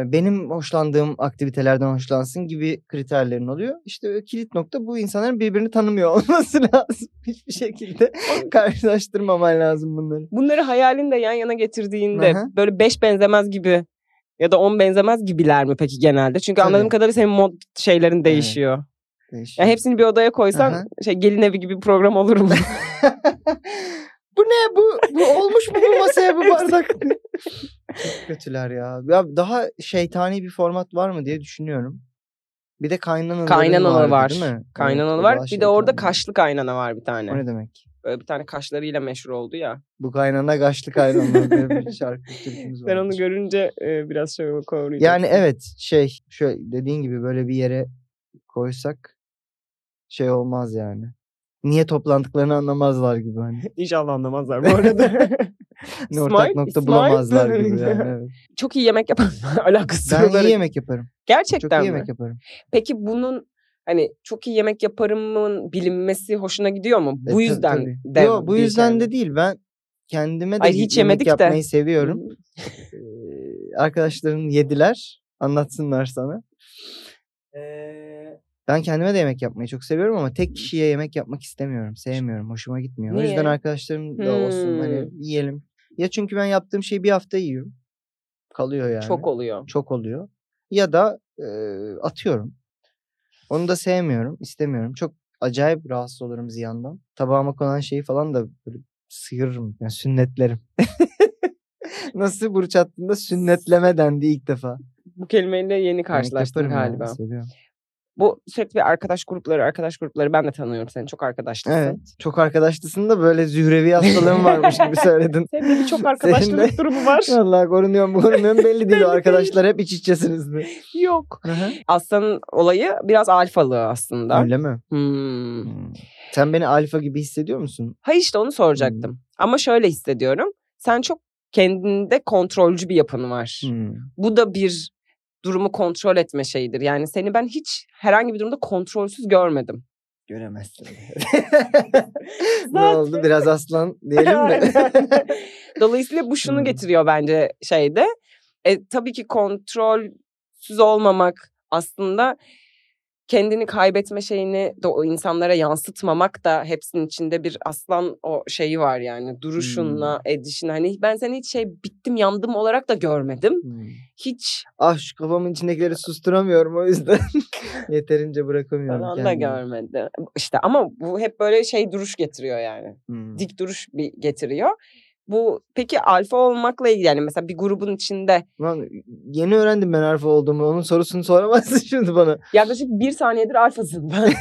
S3: benim hoşlandığım aktivitelerden hoşlansın gibi kriterlerin oluyor. İşte kilit nokta bu insanların birbirini tanımıyor olması lazım. Hiçbir şekilde karşılaştırmaman lazım bunları.
S2: bunları hayalinde yan yana getirdiğinde
S3: Aha.
S2: böyle beş benzemez gibi ya da on benzemez gibiler mi peki genelde? Çünkü anladığım
S3: Tabii.
S2: kadarıyla senin mod şeylerin değişiyor.
S3: Değişik.
S2: Yani hepsini bir odaya koysan
S3: Aha.
S2: şey gelin evi gibi bir program olur mu?
S3: Bu ne bu? Bu olmuş mu bu masaya bu bardak? Çok kötüler ya. Ya daha şeytani bir format var mı diye düşünüyorum. Bir de kaynanalı
S2: Kaynanalı var.
S3: Değil mi?
S2: Kaynanalı
S3: Evet, o
S2: var.
S3: daha
S2: Bir de orada
S3: şeytani.
S2: kaşlı kaynana var bir tane.
S3: O ne demek?
S2: Böyle bir tane kaşlarıyla meşhur oldu ya.
S3: Bu kaynana kaşlı kaynana diye bir şarkı türkümüz var.
S2: Ben onu görünce e, biraz şöyle kavrayacağım.
S3: Yani evet şey şöyle dediğin gibi böyle bir yere koysak şey olmaz yani. Niye toplandıklarını anlamazlar gibi hani.
S2: İnşallah anlamazlar bu arada.
S3: Ne ortak
S2: Smile,
S3: nokta
S2: smile.
S3: bulamazlar gibi yani. evet.
S2: Çok iyi yemek yapan alakası
S3: Ben
S2: olarak.
S3: iyi yemek yaparım. Çok
S2: Gerçekten
S3: iyi
S2: mi?
S3: yemek yaparım.
S2: Peki bunun hani çok iyi yemek yaparımın bilinmesi hoşuna gidiyor mu?
S3: E,
S2: Bu
S3: tabii,
S2: yüzden
S3: tabii.
S2: de.
S3: Yo, bu
S2: değil
S3: yüzden
S2: yani.
S3: de değil. Ben kendime de
S2: Hayır,
S3: y-
S2: hiç
S3: yemek
S2: yemedik de.
S3: yapmayı seviyorum. Ee, arkadaşların yediler. Anlatsınlar sana. Ben kendime de yemek yapmayı çok seviyorum ama tek kişiye yemek yapmak istemiyorum. Sevmiyorum. Hoşuma gitmiyor. O yüzden
S2: Niye? Hmm.
S3: arkadaşlarım da olsun hani yiyelim. Ya çünkü ben yaptığım şeyi bir hafta yiyorum. Kalıyor yani.
S2: Çok oluyor.
S3: çok oluyor. Ya da e, atıyorum. Onu da sevmiyorum, istemiyorum. Çok acayip rahatsız olurum ziyandan. Tabağıma konan şeyi falan da böyle sıyırırım, yani sünnetlerim. Nasıl burç attığında sünnetleme dendi ilk defa.
S2: Bu kelimeyle yeni karşılaştım
S3: yaparım ya,
S2: galiba.
S3: seviyorum.
S2: Bu sürekli arkadaş grupları, arkadaş grupları ben de tanıyorum seni. Çok arkadaşlısın.
S3: Evet. Çok arkadaşlısın da böyle zührevi hastalığın varmış gibi söyledin.
S2: Senin de birçok arkadaşlık durumu var.
S3: Vallahi korunuyorum, korunuyorum belli değil o arkadaşlar hep iç içesiniz mi?
S2: Yok. Aslanın olayı biraz alfalığı aslında.
S3: Öyle mi?
S2: Hmm.
S3: Hmm. Sen beni alfa gibi hissediyor musun?
S2: Hayır işte onu soracaktım.
S3: Hmm.
S2: Ama şöyle hissediyorum. Sen çok kendinde kontrolcü bir yapın var.
S3: Hmm.
S2: Bu da bir durumu kontrol etme şeyidir. Yani seni ben hiç herhangi bir durumda kontrolsüz görmedim.
S3: Göremezsin. ne
S2: Zaten.
S3: oldu? Biraz aslan diyelim mi?
S2: Aynen. Dolayısıyla bu şunu
S3: Hmm.
S2: getiriyor bence şeyde. E, tabii ki kontrolsüz olmamak aslında kendini kaybetme şeyini de o insanlara yansıtmamak da hepsinin içinde bir aslan o şeyi var yani duruşunla edişin hani ben seni hiç şey bittim yandım olarak da görmedim
S3: Hmm.
S2: hiç
S3: ah şu kafamın içindekileri susturamıyorum o yüzden. Yeterince bırakamıyorum
S2: falan da
S3: kendimi.
S2: görmedim işte ama bu hep böyle şey duruş getiriyor yani
S3: Hmm.
S2: dik duruş bir getiriyor. Bu peki alfa olmakla ilgili yani mesela bir grubun içinde
S3: Lan yeni öğrendim ben harfi olduğumu. Onun sorusunu soramazsın şimdi bana.
S2: yaklaşık bir saniyedir alfasın ben.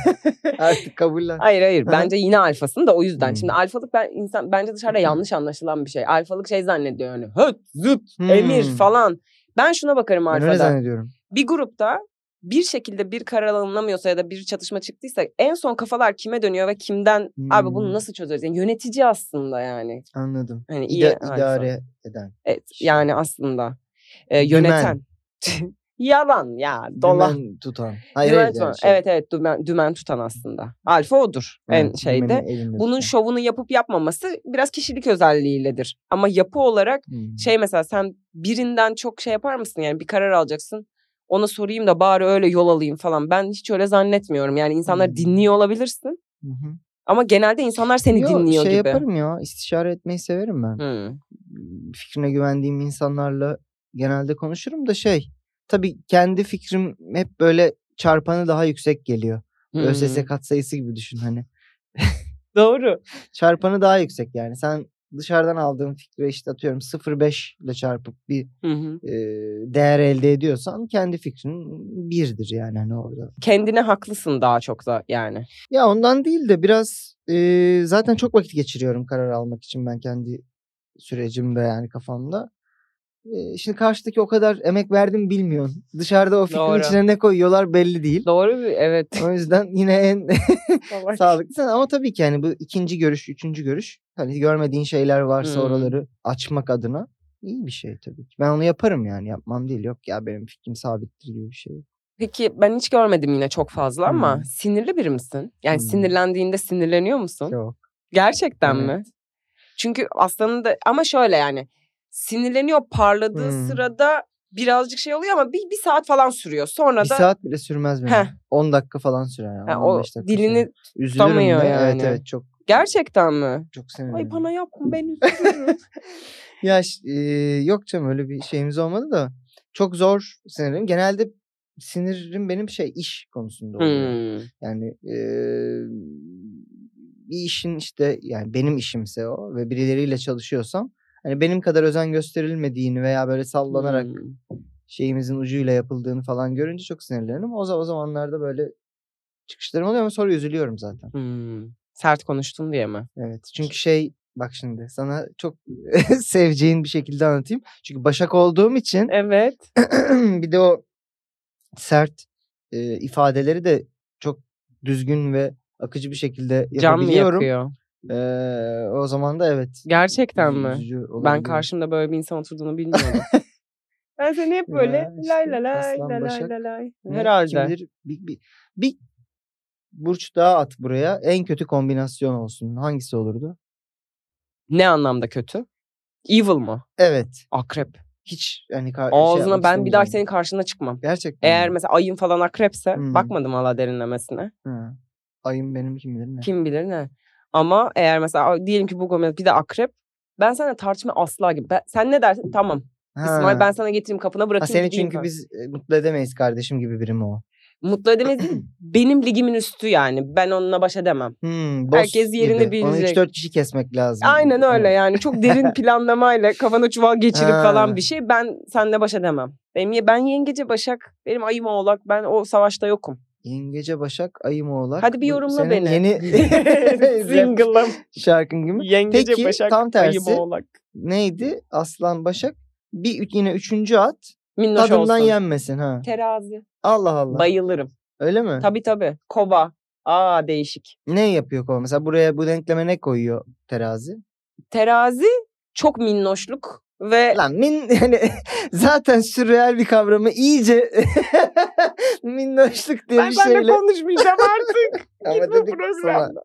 S3: Artık kabullen.
S2: hayır hayır
S3: Aha.
S2: bence yine alfasın da o yüzden.
S3: Hmm.
S2: Şimdi alfalık ben insan bence dışarıda yanlış anlaşılan bir şey. Alfalık şey zannediyor yani höt züt emir
S3: Hmm.
S2: falan. Ben şuna bakarım
S3: Ben öyle
S2: alfada.
S3: zannediyorum.
S2: Bir grupta bir şekilde bir karar alınamıyorsa ya da bir çatışma çıktıysa en son kafalar kime dönüyor ve kimden abi bunu
S3: Hmm.
S2: nasıl çözeriz? Yani yönetici aslında yani.
S3: Anladım.
S2: Hani iyi
S3: İda-
S2: alfa.
S3: idare eden.
S2: Evet
S3: Şey.
S2: yani aslında e,
S3: Dümen.
S2: yöneten. Yalan ya dolan.
S3: Dümen tutan. Hayır,
S2: Dümen
S3: hayır
S2: tutan.
S3: yani şey,
S2: Evet evet dümen, dümen tutan aslında. Alfa odur en
S3: evet,
S2: şeyde.
S3: dümeni elinde
S2: Bunun
S3: tutan.
S2: şovunu yapıp yapmaması biraz kişilik özelliğiyledir. Ama yapı olarak
S3: Hmm.
S2: şey mesela sen birinden çok şey yapar mısın? Yani bir karar alacaksın. Ona sorayım da bari öyle yol alayım falan. Ben hiç öyle zannetmiyorum. Yani insanlar
S3: Hmm.
S2: dinliyor olabilirsin.
S3: Hı hı.
S2: Ama genelde insanlar seni
S3: Yo,
S2: dinliyor
S3: şey
S2: gibi.
S3: yaparım ya. İstişare etmeyi severim ben.
S2: Hmm.
S3: fikrine güvendiğim insanlarla genelde konuşurum da şey tabii kendi fikrim hep böyle çarpanı daha yüksek geliyor. ÖSS
S2: Hmm.
S3: katsayısı gibi düşün hani.
S2: Doğru.
S3: Çarpanı daha yüksek yani. Sen dışarıdan aldığın fikri işte atıyorum 0.5 ile çarpıp bir
S2: Hı hı.
S3: e, değer elde ediyorsan kendi fikrin birdir yani hani orada.
S2: Kendine haklısın daha çok da yani.
S3: Ya ondan değil de biraz e, zaten çok vakit geçiriyorum karar almak için ben kendi sürecimde yani kafamda. E, şimdi karşıdaki o kadar emek verdim bilmiyorsun. Dışarıda o fikrin
S2: Doğru.
S3: içine ne koyuyorlar belli değil.
S2: Doğru bir evet.
S3: O yüzden yine en
S2: Salak.
S3: sağlıklı. Ama tabii ki yani bu ikinci görüş, üçüncü görüş. Hani görmediğin şeyler varsa
S2: Hmm.
S3: oraları açmak adına iyi bir şey tabii ki. Ben onu yaparım yani yapmam değil. Yok ya benim fikrim sabittir gibi bir şey.
S2: Peki ben hiç görmedim yine çok fazla ama
S3: Hmm.
S2: sinirli biri misin? Yani
S3: Hmm.
S2: sinirlendiğinde sinirleniyor musun?
S3: Yok.
S2: Gerçekten
S3: Evet.
S2: mi? Çünkü aslanın da ama şöyle yani sinirleniyor parladığı
S3: Hmm.
S2: sırada birazcık şey oluyor ama bir, bir saat falan sürüyor. Sonra
S3: Bir
S2: da
S3: saat bile sürmez benim.
S2: Heh.
S3: 10 dakika falan sürer.
S2: ha,
S3: Yani.
S2: o
S3: 15 dakika sürer.
S2: dilini
S3: Üzülürüm
S2: tutamıyor
S3: de.
S2: yani.
S3: Evet evet çok
S2: gerçekten mi? Hmm.
S3: çok
S2: Ay
S3: sevindim.
S2: bana yapma ben üzülürüm.
S3: Ya ş- e, yok canım öyle bir şeyimiz olmadı da çok zor sinirim. Genelde sinirim benim şey iş konusunda oluyor.
S2: Hmm.
S3: Yani e, bir işin işte yani benim işimse o ve birileriyle çalışıyorsam hani benim kadar özen gösterilmediğini veya böyle sallanarak
S2: Hmm.
S3: şeyimizin ucuyla yapıldığını falan görünce çok sinirlenirim. O, za- o zamanlarda böyle çıkışlarım oluyor ama sonra üzülüyorum zaten.
S2: Hmm. Sert konuştun diye mi?
S3: Evet. Çünkü şey bak şimdi sana çok seveceğin bir şekilde anlatayım. Çünkü başak olduğum için
S2: Evet.
S3: bir de o sert e, ifadeleri de çok düzgün ve akıcı bir şekilde
S2: Can mı
S3: yapabiliyorum.
S2: yakıyor?
S3: Ee, o zaman da evet.
S2: Gerçekten
S3: üzü-
S2: mi?
S3: üzücü
S2: Ben
S3: olabiliyor.
S2: karşımda böyle bir insan oturduğunu bilmiyordum. ben seni hep böyle
S3: Ya işte,
S2: lay la lay
S3: Aslan
S2: la lay
S3: Başak
S2: la lay.
S3: Ne, kim
S2: Herhalde.
S3: bilir, bir, bir, bir burç daha at buraya. En kötü kombinasyon olsun. Hangisi olurdu?
S2: Ne anlamda kötü? Evil mı?
S3: Evet.
S2: Akrep.
S3: Hiç hani kar- şey
S2: Ağzına
S3: yapmak
S2: ben bir daha
S3: istemeyeceğim.
S2: senin karşına çıkmam.
S3: Gerçekten.
S2: Eğer
S3: mi?
S2: mesela ayın falan akrepse
S3: Hmm.
S2: bakmadım hala derinlemesine.
S3: Ha. Ayım benim kim bilir ne.
S2: Kim bilir ne. Ama eğer mesela "Aa, diyelim ki bu komedi bir de akrep. Ben seninle tartışma asla gibi. Ben- sen ne dersin? Tamam. İsmail
S3: Ha.
S2: ben sana getireyim kapına
S3: Ha,
S2: bırakayım.
S3: seni
S2: gideyim
S3: çünkü
S2: falan.
S3: biz e, mutlu edemeyiz kardeşim gibi birim o.
S2: Mutlu edemeyiz değil, benim ligimin üstü yani. Ben onunla baş edemem.
S3: Hmm,
S2: Herkes
S3: boss
S2: yerini
S3: gibi. Onu
S2: bilecek.
S3: 3-4 kişi kesmek lazım.
S2: Aynen öyle
S3: Evet.
S2: yani. Çok derin planlamayla kafana çuval geçirip
S3: Ha.
S2: falan bir şey. Ben seninle baş edemem. Benim, ye- ben yengece Başak, benim ayım oğlak. Ben o savaşta yokum.
S3: Yengece Başak, Ayım Oğlak.
S2: Hadi bir
S3: Bu
S2: yorumla
S3: senin
S2: beni.
S3: Yeni rap
S2: Single'ım.
S3: şarkın gibi.
S2: Yengece
S3: Peki,
S2: Başak,
S3: tam
S2: ayım
S3: tersi.
S2: oğlak.
S3: Neydi? Aslan Başak. Bir üç- yine üçüncü at.
S2: Minnoş
S3: Tadından
S2: olsun.
S3: yenmesin ha.
S2: Terazi.
S3: Allah Allah.
S2: Bayılırım.
S3: Öyle mi?
S2: Tabii tabii. Kova. Aa değişik.
S3: Ne yapıyor kova? Mesela buraya bu denkleme ne koyuyor terazi?
S2: Terazi çok minnoşluk ve
S3: Lan min yani zaten sürreal bir kavramı iyice minnoşluk diye
S2: ben,
S3: bir
S2: ben
S3: şeyle.
S2: de konuşmayacağım artık.
S3: Ama
S2: Git bu
S3: dedik sana.
S2: programdan.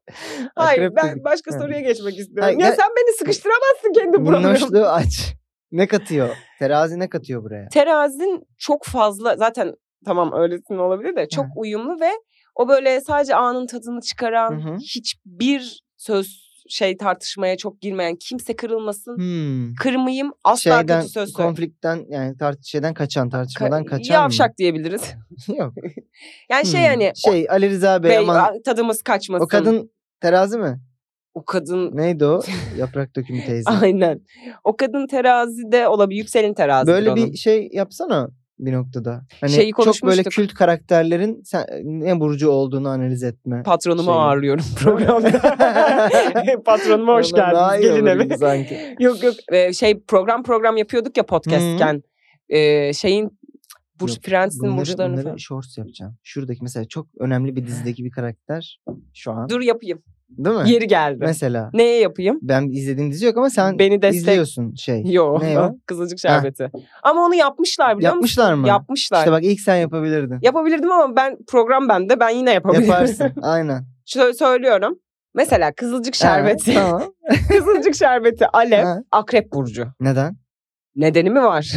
S2: Hayır
S3: Akrep
S2: ben
S3: dedik.
S2: başka
S3: Ha.
S2: soruya geçmek istiyorum.
S3: Hayır,
S2: ya
S3: gel-
S2: sen beni sıkıştıramazsın kendi programına.
S3: Minnoşluğu aç. Ne katıyor? Terazi ne katıyor buraya?
S2: Terazin çok fazla zaten tamam öylesin olabilir de çok
S3: Evet.
S2: uyumlu ve o böyle sadece anın tadını çıkaran
S3: Hı hı.
S2: hiçbir söz şey tartışmaya çok girmeyen kimse kırılmasın.
S3: Hmm.
S2: Kırmayayım asla
S3: Şeyden,
S2: kötü söz söyle.
S3: konflikten yani tart şeyden kaçan, tartışmadan
S2: Ka-
S3: kaçan mı?
S2: yavşak diyebiliriz.
S3: Yok.
S2: Yani şey
S3: Hmm.
S2: hani o-
S3: Şey Ali Rıza Bey,
S2: bey,
S3: aman
S2: a- tadımız kaçmasın.
S3: o kadın terazi mi?
S2: o kadın
S3: Neydi o? Yaprak dökümü teyze.
S2: aynen. O kadın terazide olabilir. Yükselin terazidir
S3: böyle
S2: onun.
S3: bir şey yapsana bir noktada. Hani
S2: Şeyi
S3: çok böyle
S2: konuşmuştuk.
S3: kült karakterlerin sen, ne burcu olduğunu analiz etme.
S2: Patronumu
S3: şeyi.
S2: ağırlıyorum programda. Şey Patronuma hoş
S3: Ondan daha
S2: geldiniz.
S3: iyi
S2: Gelin
S3: olurdu
S2: eve.
S3: Sanki.
S2: yok yok Ee, şey program program yapıyorduk ya podcastken. Ee, şeyin Burç
S3: Yok,
S2: Prens'in
S3: Bunları,
S2: burçlarını
S3: bunları
S2: falan.
S3: shorts yapacağım. Şuradaki mesela çok önemli bir dizideki bir karakter şu an.
S2: Dur yapayım.
S3: Değil mi?
S2: Yeri geldi.
S3: Mesela
S2: Neye yapayım?
S3: ben izlediğim dizi yok ama sen
S2: Beni destek.
S3: izliyorsun şey.
S2: Yo.
S3: Ne o?
S2: Kızılcık şerbeti. Ama onu yapmışlar biliyor musun?
S3: Yapmışlar mı?
S2: Yapmışlar.
S3: İşte bak ilk sen yapabilirdin.
S2: Yapabilirdim ama ben program bende ben yine yapabilirim.
S3: Yaparsın. Aynen.
S2: Şöyle söylüyorum. Mesela kızılcık şerbeti.
S3: Ha, tamam.
S2: kızılcık şerbeti Alev.
S3: Ha.
S2: Akrep burcu.
S3: Neden?
S2: Nedeni mi var?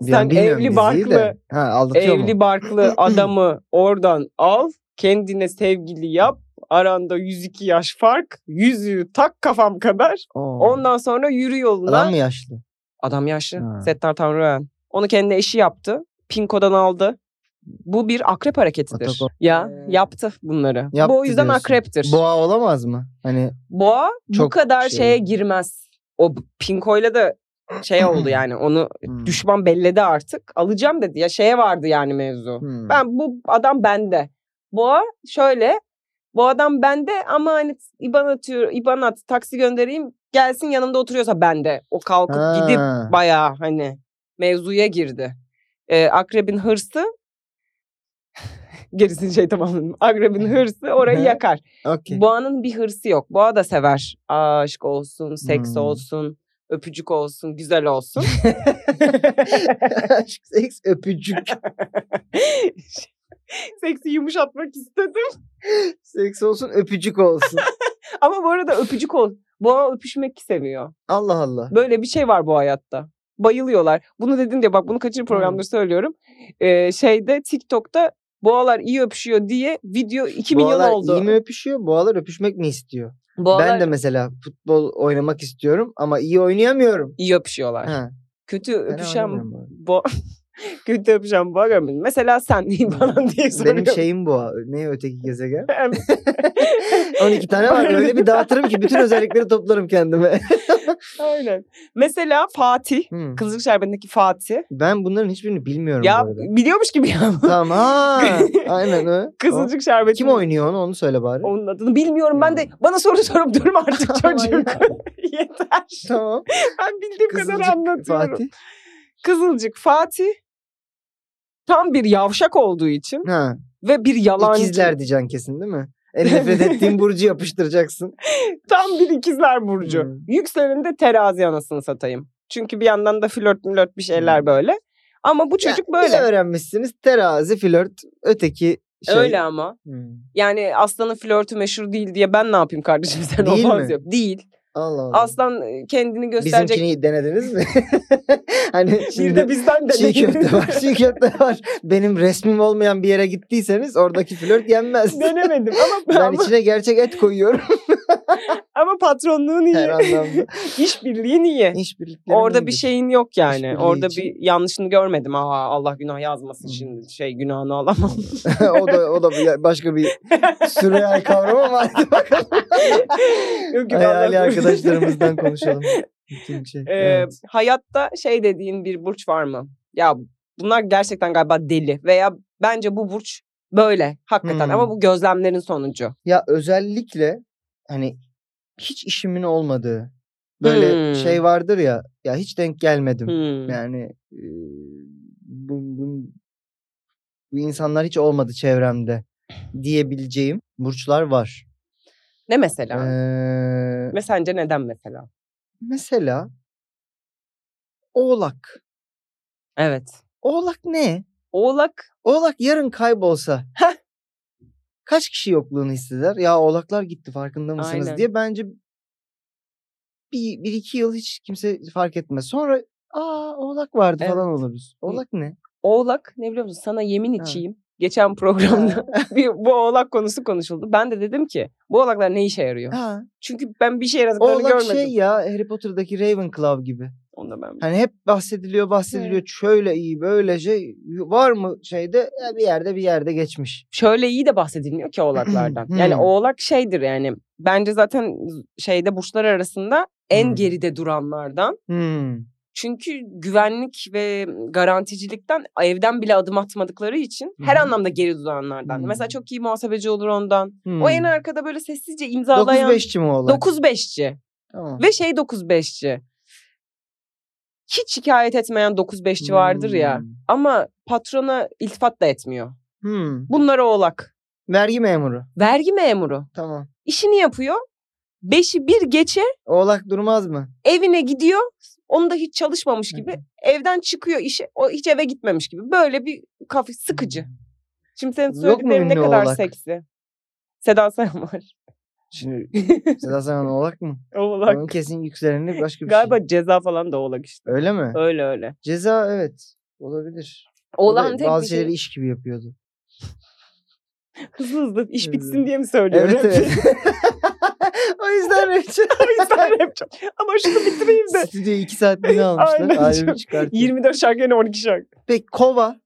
S3: Bir an
S2: Sen
S3: bilmiyorum
S2: evli
S3: diziyi
S2: barklı
S3: de. Ha, aldatıyor
S2: evli
S3: mu?
S2: barklı adamı oradan al, kendine sevgili yap. Aranda 102 yaş fark. Yüzüğü tak kafam kadar.
S3: Oo.
S2: Ondan sonra yürü yoluna.
S3: Adam mı yaşlı?
S2: Adam yaşlı.
S3: Ha.
S2: Settar Tanrıören. Onu kendi eşi yaptı. Pinko'dan aldı. Bu bir akrep hareketidir.
S3: Atak o-
S2: Ya
S3: Ee,
S2: yaptı bunları.
S3: yaptı
S2: Bu o yüzden
S3: diyorsun.
S2: akreptir.
S3: Boğa olamaz mı? Hani
S2: Boğa bu
S3: Çok
S2: kadar
S3: şey.
S2: şeye girmez. O Pinko'yla da şey oldu yani onu
S3: hmm,
S2: düşman belledi artık. Alacağım dedi. Ya şeye vardı yani mevzu.
S3: hmm.
S2: Ben bu adam bende. Boğa şöyle. Bu adam bende ama hani IBAN atıyor, IBAN at, taksi göndereyim. Gelsin yanımda oturuyorsa bende. O kalkıp gidip
S3: Ha,
S2: bayağı hani mevzuya girdi. Ee, akrebin hırsı gerisini şey tamamladım. Akrebin hırsı orayı
S3: Hı.
S2: yakar.
S3: okey.
S2: Boğanın bir hırsı yok. Boğa da sever. Aşk olsun, seks
S3: Hmm.
S2: olsun, öpücük olsun, güzel olsun.
S3: Aşk, seks, öpücük.
S2: Seksi yumuşatmak istedim.
S3: seks olsun, öpücük olsun.
S2: Ama bu arada öpücük ol. Boğa öpüşmek seviyor.
S3: Allah Allah.
S2: Böyle bir şey var bu hayatta. Bayılıyorlar. Bunu dedim diye bak bunu kaçıncı programda söylüyorum. Ee, şeyde TikTok'ta boğalar iyi öpüşüyor diye video 2 milyon
S3: Boğalar
S2: oldu.
S3: iyi mi öpüşüyor? Boğalar öpüşmek mi istiyor?
S2: Boğalar
S3: Ben de mesela futbol oynamak istiyorum ama iyi oynayamıyorum.
S2: iyi öpüşüyorlar.
S3: Ha,
S2: Kötü
S3: fena
S2: öpüşen
S3: oynamıyorum bu arada.
S2: bo Kötü yapacağım bakarım. Mesela sen bana diye soruyorum.
S3: Benim şey şeyim bu. Ne öteki gezegen?
S2: Em-
S3: 12 tane var. Öyle bir dağıtırım ki bütün özellikleri toplarım kendime.
S2: Aynen. Mesela Fatih.
S3: Hmm.
S2: Kızılcık Şerbeti'ndeki Fatih.
S3: Ben bunların hiçbirini bilmiyorum
S2: Ya
S3: bu arada.
S2: biliyormuş gibi ya.
S3: Tamam. Ha, aynen öyle.
S2: Kızılcık Şerbeti.
S3: Kim oynuyor onu? Onu söyle bari.
S2: Onun adını bilmiyorum ben de. Bana soru sorup durma artık çocuğum. Yeter.
S3: Tamam.
S2: Ben bildiğim
S3: Kızılcık
S2: kadar anlatıyorum.
S3: Fatih.
S2: Kızılcık Fatih tam bir yavşak olduğu için
S3: Ha.
S2: ve bir yalancı.
S3: İkizler diyeceksin kesin değil mi? En nefret ettiğin burcu yapıştıracaksın.
S2: Tam bir ikizler burcu.
S3: Hmm.
S2: Yükselende terazi anasını satayım. Çünkü bir yandan da flört mülört bir şeyler
S3: Hmm.
S2: böyle. Ama bu çocuk
S3: Ya,
S2: böyle.
S3: Ne öğrenmişsiniz? Terazi, flört, öteki şey.
S2: Öyle ama.
S3: Hmm.
S2: Yani aslanın flörtü meşhur değil diye ben ne yapayım kardeşim sen
S3: Değil
S2: olmaz
S3: mi?
S2: yap. Değil.
S3: Allah Allah.
S2: Aslan e, kendini gösterecek.
S3: Bizimkini denediniz mi? hani
S2: Bir de
S3: şimdi
S2: bizden de.
S3: çiğ köfte var, çiğ köfte var. Benim resmim olmayan bir yere gittiyseniz oradaki flört yenmez.
S2: Denemedim ama,
S3: ben
S2: ama,
S3: içine gerçek et koyuyorum
S2: ama patronluğun
S3: her
S2: iyi.
S3: anlamda.
S2: İşbirliğin iyi.
S3: İşbirlikleri
S2: Orada bir
S3: neydi?
S2: şeyin yok yani.
S3: İşbirliği
S2: Orada
S3: için.
S2: bir yanlışını görmedim. Aa Allah günah yazmasın
S3: Hı.
S2: şimdi. Şey günahını alamam. şey-
S3: o da o da bir- başka bir sürreal kavram ama hadi bakalım.
S2: Yok, günahını
S3: Hayali
S2: alamam.
S3: arkadaşlarımızdan konuşalım. Bütün şey.
S2: Ee,
S3: evet.
S2: Hayatta şey dediğin bir burç var mı? Ya bunlar gerçekten galiba deli veya bence bu burç böyle hakikaten
S3: Hmm.
S2: ama bu gözlemlerin sonucu.
S3: Ya özellikle hani hiç işimin olmadığı böyle
S2: Hmm.
S3: şey vardır ya ya hiç denk gelmedim.
S2: Hmm.
S3: Yani e, bu, bu, bu insanlar hiç olmadı çevremde diyebileceğim burçlar var.
S2: Ne mesela?
S3: Ee,
S2: Ve sence neden mesela?
S3: mesela Oğlak.
S2: Evet.
S3: Oğlak ne?
S2: Oğlak
S3: Oğlak yarın kaybolsa kaç kişi yokluğunu hisseder? Ya oğlaklar gitti farkında mısınız
S2: Aynen.
S3: diye bence bir, bir iki yıl hiç kimse fark etmez. Sonra aa oğlak vardı falan oluruz. Oğlak ne?
S2: Oğlak ne biliyor musun? Sana yemin
S3: Ha.
S2: içeyim. Geçen programda bir, bu oğlak konusu konuşuldu. Ben de dedim ki bu oğlaklar ne işe yarıyor?
S3: Ha.
S2: Çünkü ben bir şey yaradıklarını
S3: Oğlak
S2: görmedim.
S3: şey ya Harry Potter'daki Ravenclaw gibi.
S2: Onu da ben
S3: Hani hep bahsediliyor bahsediliyor şöyle iyi böyle şey var mı şeyde Ya bir yerde bir yerde geçmiş.
S2: Şöyle iyi de bahsedilmiyor ki oğlaklardan. yani
S3: Hmm.
S2: oğlak şeydir yani. Bence zaten şeyde burçlar arasında en
S3: Hmm.
S2: geride duranlardan.
S3: Hmm.
S2: Çünkü güvenlik ve garanticilikten evden bile adım atmadıkları için her
S3: Hı hı.
S2: anlamda geri duranlardan.
S3: Hmm.
S2: Mesela çok iyi muhasebeci olur ondan.
S3: hmm.
S2: O en arkada böyle sessizce imzalayan
S3: 9-5'ci mi oğlak?
S2: 9-5'ci.
S3: Tamam.
S2: Ve şey 9-5'ci. Hiç şikayet etmeyen 9-5'ci vardır ya.
S3: Hmm.
S2: Ama patrona iltifat da etmiyor.
S3: Hmm.
S2: Bunlar oğlak.
S3: Vergi memuru.
S2: Vergi memuru.
S3: Tamam.
S2: İşini yapıyor. 5'i bir geçe
S3: Oğlak durmaz mı?
S2: evine gidiyor. Onu da hiç çalışmamış
S3: Hı
S2: gibi. Evden çıkıyor işe. O hiç eve gitmemiş gibi. Böyle bir kafa sıkıcı. Şimdi senin
S3: Hmm. Yok mu
S2: söylediklerin ne
S3: ünlü
S2: kadar
S3: oğlak?
S2: seksi. Seda Sayan var.
S3: Şimdi Seda Sayan oğlak mı?
S2: oğlak.
S3: Onun kesin yükselenini başka bir
S2: Galiba
S3: şey.
S2: ceza falan da oğlak işte.
S3: Öyle mi?
S2: Öyle öyle.
S3: Ceza evet. Olabilir. O da
S2: Oğlan tek
S3: bazı
S2: bir şey.
S3: şeyleri iş gibi yapıyordu.
S2: Hızlı hızlı iş
S3: Evet.
S2: bitsin diye mi söylüyorum?
S3: Evet evet. o yüzden Rachel.
S2: o yüzden rap çal- Ama şunu bitireyim de.
S3: Stüdyo 2 saat bile almışlar.
S2: Aynen
S3: Albüm
S2: çok-
S3: çıkartıyor.
S2: 24 şarkı yani 12 şarkı.
S3: Peki kova.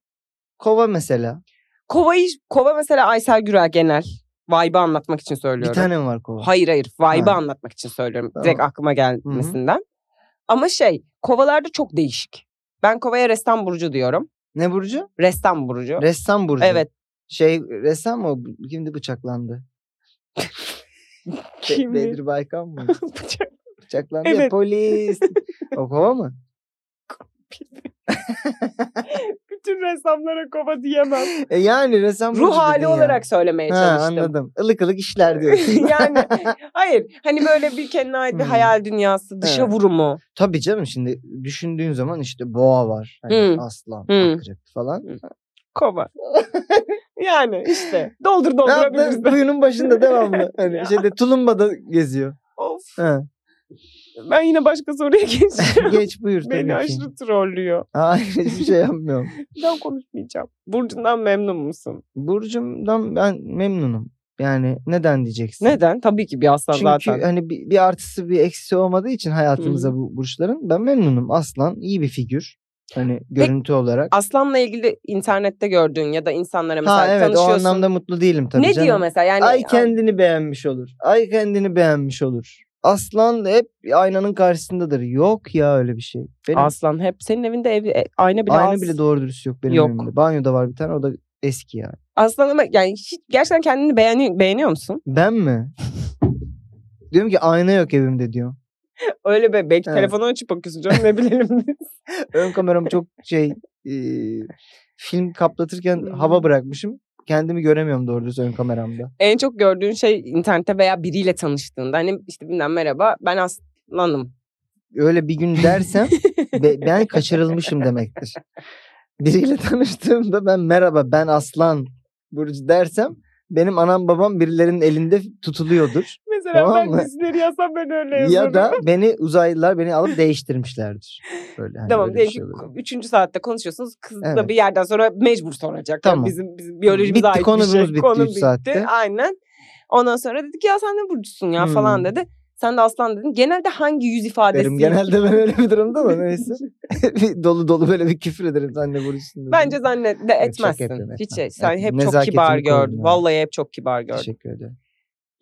S3: Kova mesela.
S2: Kova'yı, Kova mesela Aysel Gürel genel. Vibe'ı anlatmak için
S3: Bir
S2: söylüyorum.
S3: tane mi var kova?
S2: Hayır hayır. Vibe'ı
S3: Ha.
S2: anlatmak için söylüyorum.
S3: Tamam.
S2: Direkt aklıma gelmesinden. Ama şey kovalarda çok değişik. Ben kovaya restan burcu diyorum.
S3: Ne burcu?
S2: Restan burcu.
S3: Ressam burcu.
S2: Evet.
S3: Şey ressam mı? o? Kimdi bıçaklandı? Be-
S2: Kimdi?
S3: Bedir Baykan mı?
S2: Bıçak
S3: Bıçaklandı ya
S2: Evet.
S3: polis. o kova mı?
S2: Bütün ressamlara kova diyemem.
S3: E yani ressam burcu
S2: Ruh hali
S3: dedin ya.
S2: olarak söylemeye
S3: Ha,
S2: çalıştım.
S3: anladım. Ilık ılık işler diyorsun.
S2: yani hayır hani böyle bir kendine ait bir
S3: Hmm.
S2: hayal dünyası dışa
S3: Evet.
S2: vurumu.
S3: Tabii canım şimdi düşündüğün zaman işte boğa var. Hani
S2: Hı.
S3: aslan,
S2: Hı.
S3: akrep falan.
S2: Kova. yani işte doldur
S3: Ne yaptı?
S2: doldurabiliriz. de.
S3: Kuyunun başında devamlı.
S2: Ya.
S3: Hani şeyde tulumbada geziyor.
S2: Of
S3: Ha.
S2: ben yine başka soruya geçeceğim.
S3: Geç buyur tabii
S2: Beni
S3: ki.
S2: aşırı trollüyor.
S3: Hayır hiçbir şey yapmıyorum.
S2: Bir daha konuşmayacağım. Burcundan memnun musun?
S3: Burcumdan ben memnunum. Yani neden diyeceksin?
S2: Neden? Tabii ki bir aslan
S3: Çünkü
S2: zaten.
S3: hani bir, bir artısı bir eksisi olmadığı için hayatımıza bu burçların ben memnunum. Aslan iyi bir figür. Hani görüntü olarak.
S2: Aslanla ilgili internette gördüğün ya da insanlara mesela
S3: Ha evet o
S2: Hani tanışıyorsun.
S3: anlamda mutlu değilim tabii
S2: ne
S3: canım.
S2: diyor hani mesela? Yani
S3: Ay kendini beğenmiş olur. Ay kendini beğenmiş olur. Aslan hep aynanın karşısındadır. Yok ya öyle bir şey. Benim
S2: Aslan hep senin evinde ev, e, ayna bile
S3: ayna
S2: az.
S3: bile doğru dürüst yok benim
S2: Yok.
S3: evimde. Banyoda var bir tane o da eski yani.
S2: Aslan ama yani hiç, gerçekten kendini beğeni, beğeniyor musun?
S3: Ben mi? diyorum ki ayna yok evimde diyor.
S2: Öyle be belki
S3: Evet.
S2: telefonu açıp bakıyorsun canım ne bilelim biz.
S3: Ön kameram çok şey e, film kaplatırken
S2: Hmm.
S3: hava bırakmışım. Kendimi göremiyorum doğru düz ön kameramda.
S2: En çok gördüğün şey internette veya biriyle tanıştığında. Hani işte bilmem merhaba ben aslanım.
S3: Öyle bir gün dersem be- ben kaçırılmışım demektir. Biriyle tanıştığımda ben merhaba ben Aslan Burcu dersem benim anam babam birilerinin elinde tutuluyordur.
S2: Mesela
S3: Tamam
S2: ben
S3: mı?
S2: dizileri yazsam ben öyle yazarım.
S3: ya da beni uzaylılar beni alıp değiştirmişlerdir. Böyle hani
S2: Tamam
S3: öyle bir
S2: diyelim
S3: şey
S2: ki
S3: oluyor.
S2: üçüncü saatte konuşuyorsunuz. Kız da
S3: Evet.
S2: bir yerden sonra mecbur soracak.
S3: Tamam.
S2: Yani bizim, bizim biyolojimize
S3: Bitti,
S2: ait bir
S3: konumuz
S2: şey.
S3: bitti
S2: Konu
S3: üç saatte.
S2: Aynen. Ondan sonra dedik ya sen ne burcusun ya falan
S3: Hmm.
S2: dedi. Sen de aslan dedin. Genelde hangi yüz ifadesi?
S3: Derim genelde ben öyle bir durumda da neyse. Bir dolu dolu böyle bir küfür ederim sen de Burcu'sun.
S2: Bence zannet de
S3: çok
S2: etmezsin.
S3: etmem,
S2: Hiç şey,
S3: etmem,
S2: sen
S3: etmem.
S2: hep çok
S3: Nezaketimi
S2: kibar
S3: korudum
S2: gördün.
S3: yani.
S2: Vallahi hep çok kibar gördün.
S3: Teşekkür ederim.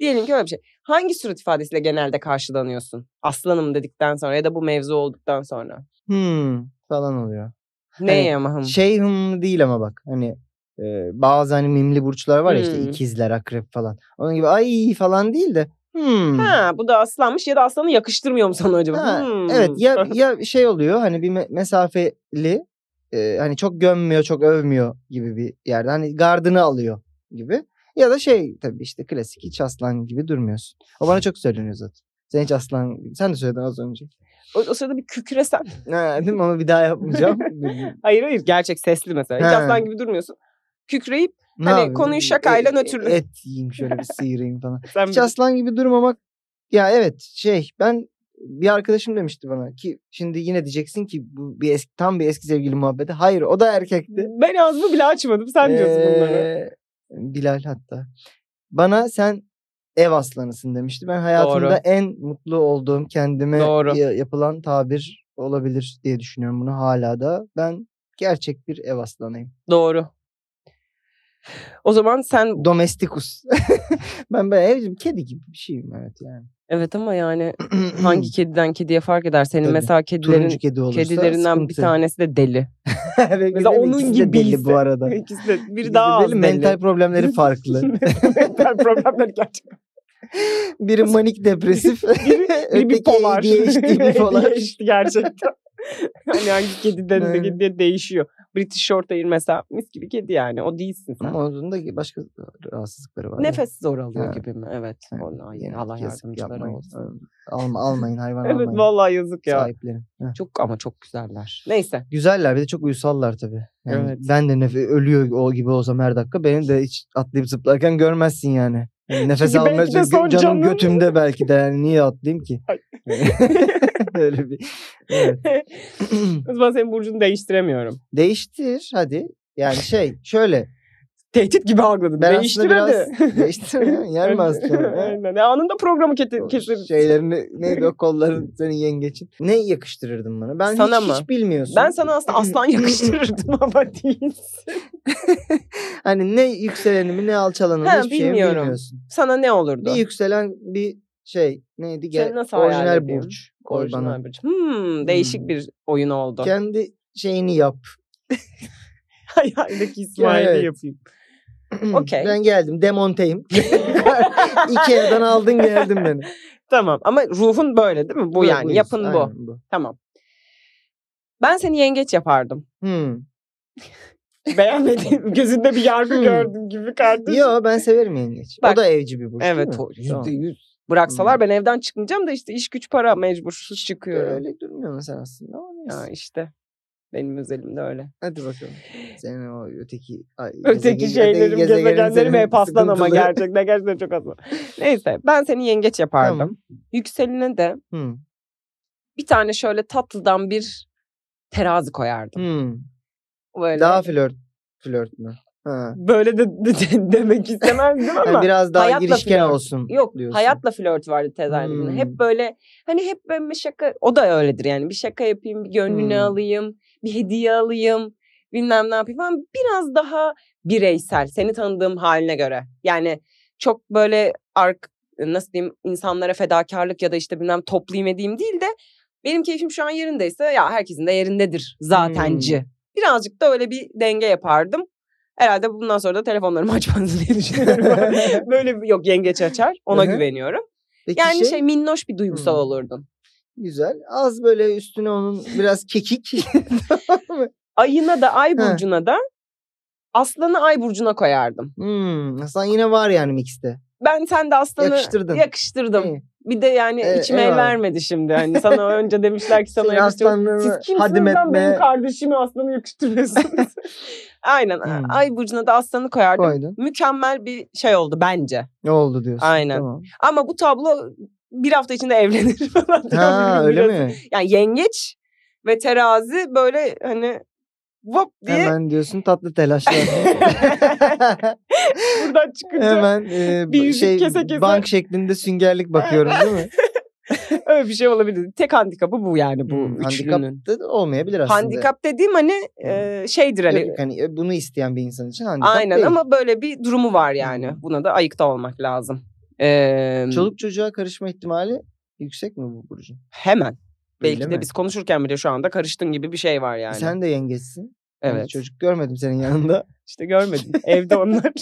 S2: Diyelim ki öyle bir şey. Hangi surat ifadesiyle genelde karşılanıyorsun? Aslanım dedikten sonra ya da bu mevzu olduktan sonra.
S3: Hmm falan oluyor.
S2: Neye ama hım?
S3: Şey hım değil ama bak hani e, bazı hani mimli burçlar var ya işte
S2: Hmm.
S3: ikizler, akrep falan. Onun gibi ay falan değil de hmm.
S2: Ha bu da aslanmış ya da aslanı yakıştırmıyor mu sana acaba?
S3: Ha,
S2: Hmm.
S3: Evet ya ya şey oluyor hani bir me- mesafeli e, hani çok gömmüyor çok övmüyor gibi bir yerde hani gardını alıyor gibi. Ya da şey tabii işte klasik hiç aslan gibi durmuyorsun. O bana çok söyleniyor zaten. Sen hiç aslan sen de söyledin az önce.
S2: O, o sırada bir kükresen.
S3: Ha, değil mi? Ama bir daha yapmayacağım. ne
S2: Hayır hayır gerçek sesli mesela. Hiç
S3: Ha.
S2: aslan gibi durmuyorsun. Kükreyip
S3: yapayım?
S2: Hani, konuyu şakayla
S3: E- e-
S2: nötrlü.
S3: Et yiyeyim şöyle bir sıyırayım falan.
S2: sen
S3: Hiç aslan gibi durmamak ya evet şey ben bir arkadaşım demişti bana ki şimdi yine diyeceksin ki bu bir eski, tam bir eski sevgili muhabbeti. Hayır o da erkekti.
S2: ben ağzımı bile açmadım. Sen diyorsun bunları.
S3: Ee, Bilal hatta. Bana sen ev aslanısın demişti. Ben hayatımda
S2: Doğru.
S3: en mutlu olduğum kendime
S2: Doğru.
S3: ya- yapılan tabir olabilir diye düşünüyorum bunu hala da. Ben gerçek bir ev aslanıyım.
S2: Doğru. O zaman sen
S3: Domestikus. ben ben evcim kedi gibi bir şeyim evet yani.
S2: evet ama yani hangi kediden kediye fark eder. Senin
S3: Tabii.
S2: mesela kedilerin
S3: turuncu kedi olursa
S2: kedilerinden bir
S3: sıkıntı.
S2: tanesi de deli.
S3: Ve bir
S2: Mesela
S3: de
S2: onun
S3: ikisi de
S2: gibi ise-
S3: belli bu arada.
S2: İkisi de biri
S3: İkisi
S2: daha
S3: de
S2: az
S3: belli,
S2: deli.
S3: Mental problemleri farklı.
S2: Mental problemler gerçekten.
S3: Biri manik depresif.
S2: Biri
S3: öteki
S2: bipolar.
S3: ADHD bipolar.
S2: ADHD gerçekten. hani hangi kediden de
S3: Aynen.
S2: kediye değişiyor. British Shorthair mesela mis gibi kedi yani. O değilsin sen.
S3: Ama onun da başka rahatsızlıkları var. ya.
S2: Nefes zor alıyor
S3: Ha.
S2: gibi mi? Evet.
S3: Evet,
S2: Vallahi
S3: yine
S2: Allah
S3: yazık
S2: yardımcıları
S3: yapmayın.
S2: olsun.
S3: Alma- ıı, Alma, almayın hayvan
S2: Evet
S3: almayın.
S2: vallahi yazık ya.
S3: Sahiplerin. Heh.
S2: Çok ama çok güzeller. Neyse.
S3: Güzeller bir de çok uyusallar tabii. Yani
S2: Evet.
S3: Ben de nef- ölüyor o gibi olsam her dakika beni de hiç atlayıp zıplarken görmezsin yani. Yani nefes
S2: Çünkü
S3: almaya
S2: belki de
S3: gö-
S2: son
S3: canım
S2: canın.
S3: götümde belki de yani niye atlayayım ki?
S2: Ay.
S3: Öyle bir. Evet.
S2: O zaman senin burcunu değiştiremiyorum.
S3: Değiştir hadi. Yani şey şöyle.
S2: Tehdit gibi algıladım.
S3: Ben
S2: Değiştir
S3: aslında
S2: hadi.
S3: biraz değiştirme. Yer mi aslında?
S2: Aynen. Ya Anında programı keti-
S3: O
S2: keseriz.
S3: şeylerini neydi o kolların senin yengeçin. Ne yakıştırırdın bana? Ben
S2: Sana
S3: hiç,
S2: mı?
S3: hiç bilmiyorsun.
S2: Ben sana aslında aslan yakıştırırdım ama değilsin.
S3: hani ne yükselenimi ne alçalanımı
S2: Ha,
S3: hiçbir şeyimi
S2: bilmiyorum.
S3: bilmiyorsun.
S2: Sana ne olurdu?
S3: Bir yükselen bir şey neydi? Gel,
S2: Seni nasıl hayal
S3: orijinal
S2: edeyim?
S3: burç. koy bana.
S2: Orijinal bir. Hmm, değişik
S3: Hmm.
S2: bir oyun oldu.
S3: Kendi şeyini yap.
S2: Hayaldeki İsmail'i
S3: Evet.
S2: yapayım. Okey.
S3: Ben geldim demonteyim. Ikea'dan aldın geldim beni.
S2: Tamam ama ruhun böyle değil mi? Bu, yani yapın bu.
S3: Aynen bu.
S2: Tamam. Ben seni yengeç yapardım.
S3: Hmm.
S2: Beğenmediğim gözünde bir yargı
S3: Hmm.
S2: gördüm gibi kardeşim.
S3: Yo ben severim yengeç.
S2: Bak.
S3: o da evci bir burç değil
S2: Evet
S3: mi?
S2: o
S3: Tamam.
S2: yüzde yüz. Bıraksalar ben evden çıkmayacağım da işte iş güç para mecbur hiç çıkıyorum.
S3: Öyle durmuyorsun sen aslında ama neyse.
S2: Ya işte benim özelimde öyle.
S3: Hadi bakalım. Senin o öteki... Ay,
S2: Öteki
S3: gezegen-
S2: şeylerim,
S3: gezegenin
S2: gezegenlerim
S3: senin
S2: hep aslan ama
S3: sıkıntılı.
S2: gerçekten gerçekten çok aslan. Neyse ben seni yengeç yapardım.
S3: Tamam.
S2: Yükseline de
S3: Hmm.
S2: bir tane şöyle tatlıdan bir terazi koyardım.
S3: Hmm.
S2: Böyle.
S3: Daha flört flört mü? Ha.
S2: Böyle de, de- de- demek istemezdim
S3: Yani
S2: ama.
S3: Hani biraz daha
S2: hayatla
S3: girişken
S2: flört.
S3: olsun
S2: Yok
S3: diyorsun.
S2: hayatla flört vardı tezahüründe.
S3: Hmm.
S2: Hep böyle hani hep böyle bir şaka o da öyledir yani bir şaka yapayım bir gönlünü
S3: Hmm.
S2: alayım bir hediye alayım bilmem ne yapayım falan biraz daha bireysel seni tanıdığım haline göre. Yani çok böyle ark nasıl diyeyim insanlara fedakarlık ya da işte bilmem toplayayım edeyim değil de benim keyfim şu an yerindeyse ya herkesin de yerindedir zatenci.
S3: Hmm.
S2: Birazcık da öyle bir denge yapardım. Herhalde bundan sonra da telefonlarımı açmanız diye düşünüyorum. Böyle bir, yok yengeç açar ona
S3: Hı hı.
S2: güveniyorum.
S3: Peki
S2: Yani şey, minnoş bir duygusal
S3: Hmm.
S2: olurdun.
S3: Güzel. Az böyle üstüne onun biraz kekik.
S2: Ayına da ay
S3: He.
S2: burcuna da aslanı ay burcuna koyardım.
S3: hmm, aslında yine var yani mixte.
S2: Ben sen de aslanı
S3: Yakıştırdın.
S2: yakıştırdım.
S3: İyi.
S2: Bir de yani
S3: Ee,
S2: içime el
S3: eyvallah.
S2: vermedi şimdi. Hani sana önce demişler ki sana
S3: Senin
S2: yakıştır.
S3: aslanlığını
S2: şey Siz
S3: hadim
S2: kimsiniz lan benim
S3: etmeye
S2: kardeşimi aslanı yakıştırıyorsunuz. Aynen.
S3: Hmm.
S2: Ay burcuna da aslanı koyardım.
S3: koydun.
S2: Mükemmel bir şey oldu bence.
S3: Ne oldu diyorsun.
S2: Aynen.
S3: Tamam.
S2: Ama bu tablo bir hafta içinde evlenir falan.
S3: Ha
S2: Biraz-
S3: öyle mi?
S2: Yani yengeç ve terazi böyle hani vop diye
S3: Hemen diyorsun tatlı telaşlar.
S2: buradan çıkınca
S3: Hemen e,
S2: Bir yüzük
S3: şey
S2: kese kese.
S3: bank şeklinde süngerlik bakıyorum değil mi?
S2: öyle bir şey olabilir. Tek handikapı bu yani bu
S3: Hmm,
S2: üçlünün.
S3: handikap da olmayabilir aslında.
S2: Handikap dediğim hani e, şeydir hani.
S3: Yok, hani e, bunu isteyen bir insan için handikap
S2: Aynen
S3: değil.
S2: ama böyle bir durumu var yani.
S3: Hmm.
S2: Buna da ayıkta olmak lazım. Ee,
S3: Çoluk çocuğa karışma ihtimali yüksek mi bu Burcu?
S2: Hemen. Belki
S3: Öyle
S2: de
S3: mi?
S2: biz konuşurken bile şu anda karıştın gibi bir şey var yani.
S3: Sen de yengeçsin. Ben de
S2: evet.
S3: Çocuk görmedim senin yanında.
S2: İşte görmedim. Evde onlar.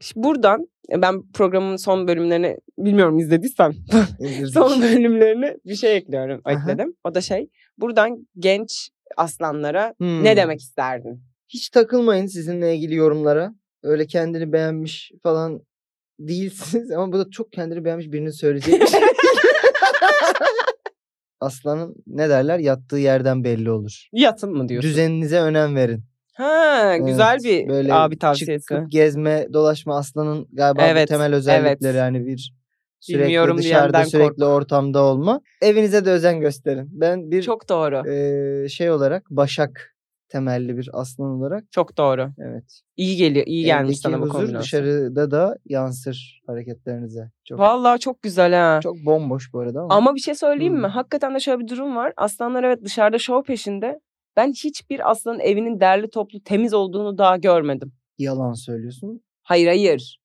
S2: Şimdi Buradan e, ben programın son bölümlerini bilmiyorum izlediysen
S3: Üzüldük.
S2: son bölümlerini bir şey ekliyorum.
S3: Aha.
S2: Ekledim. O da şey buradan genç aslanlara
S3: Hmm.
S2: ne demek isterdin?
S3: Hiç takılmayın sizinle ilgili yorumlara. Öyle kendini beğenmiş falan değilsiniz ama bu da çok kendini beğenmiş birinin söyleyeceği bir şey. Aslanın ne derler yattığı yerden belli olur.
S2: Yatın mı diyorsun?
S3: Düzeninize önem verin.
S2: Ha
S3: Evet,
S2: güzel bir
S3: böyle
S2: abi tavsiyesi.
S3: Çıkıp gezme, dolaşma aslanın galiba bu
S2: Evet,
S3: temel özellikleri hani bir sürekli
S2: Bilmiyorum diyenden
S3: dışarıda sürekli
S2: korkma.
S3: ortamda olma. Evinize de özen gösterin. Ben bir
S2: Çok doğru.
S3: eee, şey olarak Başak temelli bir aslan olarak
S2: Çok doğru.
S3: evet.
S2: İyi geliyor. iyi gelmiş
S3: evdeki
S2: sana bu
S3: huzur
S2: kombinasyon.
S3: dışarıda da yansır hareketlerinize. Çok
S2: Vallahi çok güzel ha.
S3: çok bomboş bu arada ama.
S2: Ama bir şey söyleyeyim mi?
S3: Hmm.
S2: Hakikaten de şöyle bir durum var. Aslanlar evet dışarıda şov peşinde. Ben hiçbir aslanın evinin derli toplu temiz olduğunu daha görmedim.
S3: yalan söylüyorsun.
S2: Hayır hayır.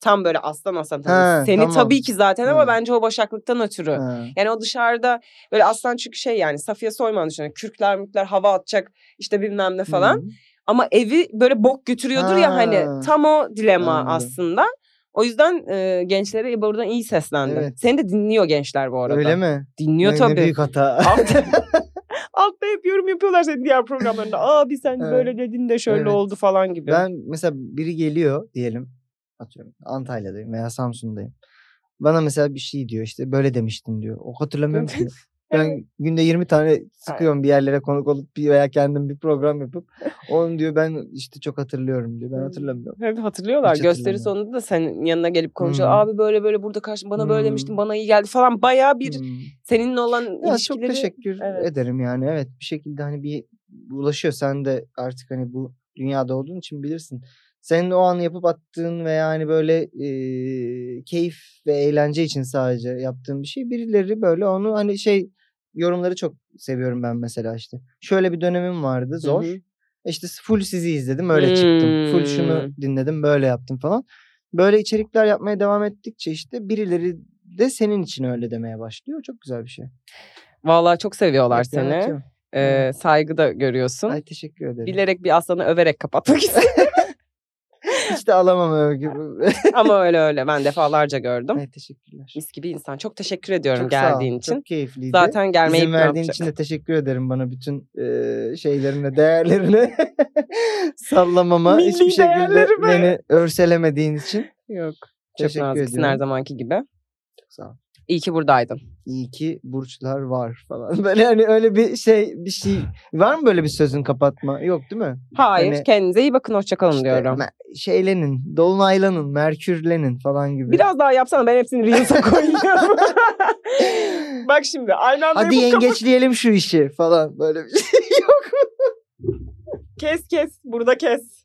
S2: Tam böyle aslan aslan. tabii.
S3: Ha,
S2: Seni
S3: tamam. Hmm.
S2: tabii ki zaten ama
S3: Ha.
S2: bence o başaklıktan ötürü.
S3: Ha.
S2: Yani o dışarıda böyle aslan çünkü şey yani Safiye Soyman düşünün. Kürkler mürkler hava atacak işte bilmem ne falan.
S3: Hı.
S2: Ama evi böyle bok götürüyordur ya hani
S3: Ha,
S2: tam o dilema
S3: anladım.
S2: aslında. O yüzden e, gençlere buradan iyi seslendi.
S3: Evet.
S2: Seni de dinliyor gençler bu arada.
S3: Öyle mi?
S2: Dinliyor
S3: Ne-
S2: tabii.
S3: Ne büyük hata.
S2: Altta, altta hep yorum yapıyorlar senin diğer programlarında. Abi sen
S3: Evet.
S2: böyle dedin de şöyle
S3: Evet.
S2: oldu falan gibi.
S3: Ben mesela biri geliyor diyelim atıyorum Antalya'dayım veya Samsun'dayım. Bana mesela bir şey diyor işte böyle demiştin diyor. O hatırlamıyorum ki. Ben günde 20 tane sıkıyorum bir yerlere konuk olup bir veya kendim bir program yapıp onu diyor ben işte çok hatırlıyorum diyor. Ben
S2: Hmm.
S3: hatırlamıyorum.
S2: Hep hatırlıyorlar.
S3: Hiç
S2: Gösteri
S3: hatırlamıyorum.
S2: sonunda da senin yanına gelip konuşuyor.
S3: Hmm.
S2: Abi böyle böyle burada karşı bana böyle
S3: Hmm.
S2: demiştin bana iyi geldi falan. Bayağı bir
S3: Hmm.
S2: seninle olan
S3: Ya
S2: ilişkileri.
S3: çok teşekkür
S2: Evet.
S3: ederim yani. Evet bir şekilde hani bir ulaşıyor. Sen de artık hani bu dünyada olduğun için bilirsin. Senin o an yapıp attığın veya hani böyle eee, keyif ve eğlence için sadece yaptığın bir şey. Birileri böyle onu hani şey yorumları çok seviyorum ben mesela işte. Şöyle bir dönemim vardı zor.
S2: hı.
S3: İşte full sizi izledim öyle çıktım. Full şunu
S2: Hmm.
S3: dinledim böyle yaptım falan. Böyle içerikler yapmaya devam ettikçe işte birileri de senin için öyle demeye başlıyor. Çok güzel bir şey.
S2: Vallahi çok seviyorlar
S3: Yok,
S2: seni.
S3: yaratıyorum.
S2: Ee,
S3: Evet.
S2: Saygı da görüyorsun.
S3: Ay teşekkür ederim.
S2: Bilerek bir aslanı överek kapatmak istedim.
S3: Hiç de alamam övgü.
S2: Ama öyle öyle. Ben defalarca gördüm.
S3: Ay teşekkürler.
S2: Mis gibi insan. Çok teşekkür ediyorum
S3: Çok sağ ol.
S2: geldiğin için.
S3: Çok keyifliydi.
S2: Zaten gelmeyi
S3: İzin verdiğin
S2: planlayacağım.
S3: için de teşekkür ederim bana bütün eee şeylerine, değerlerine sallamama,
S2: Milli
S3: hiçbir şekilde
S2: değerlerime.
S3: beni örselemediğin için.
S2: Yok. Çok
S3: Teşekkür
S2: naziksin her
S3: ediyorum.
S2: zamanki gibi.
S3: Çok sağ ol.
S2: İyi ki buradaydın.
S3: İyi ki burçlar var falan. Böyle hani öyle bir şey, bir şey var mı böyle bir sözün kapatma? Yok değil mi?
S2: Hayır
S3: Hani-
S2: kendinize iyi bakın hoşçakalın
S3: İşte
S2: diyorum.
S3: me- şeylenin, dolunaylanın, merkürlenin falan gibi.
S2: Biraz daha yapsana ben hepsini Reels'a koyuyorum. Bak şimdi aynı anda
S3: Hadi
S2: yapıp
S3: yengeçleyelim şu işi falan böyle bir şey yok.
S2: kes kes burada kes.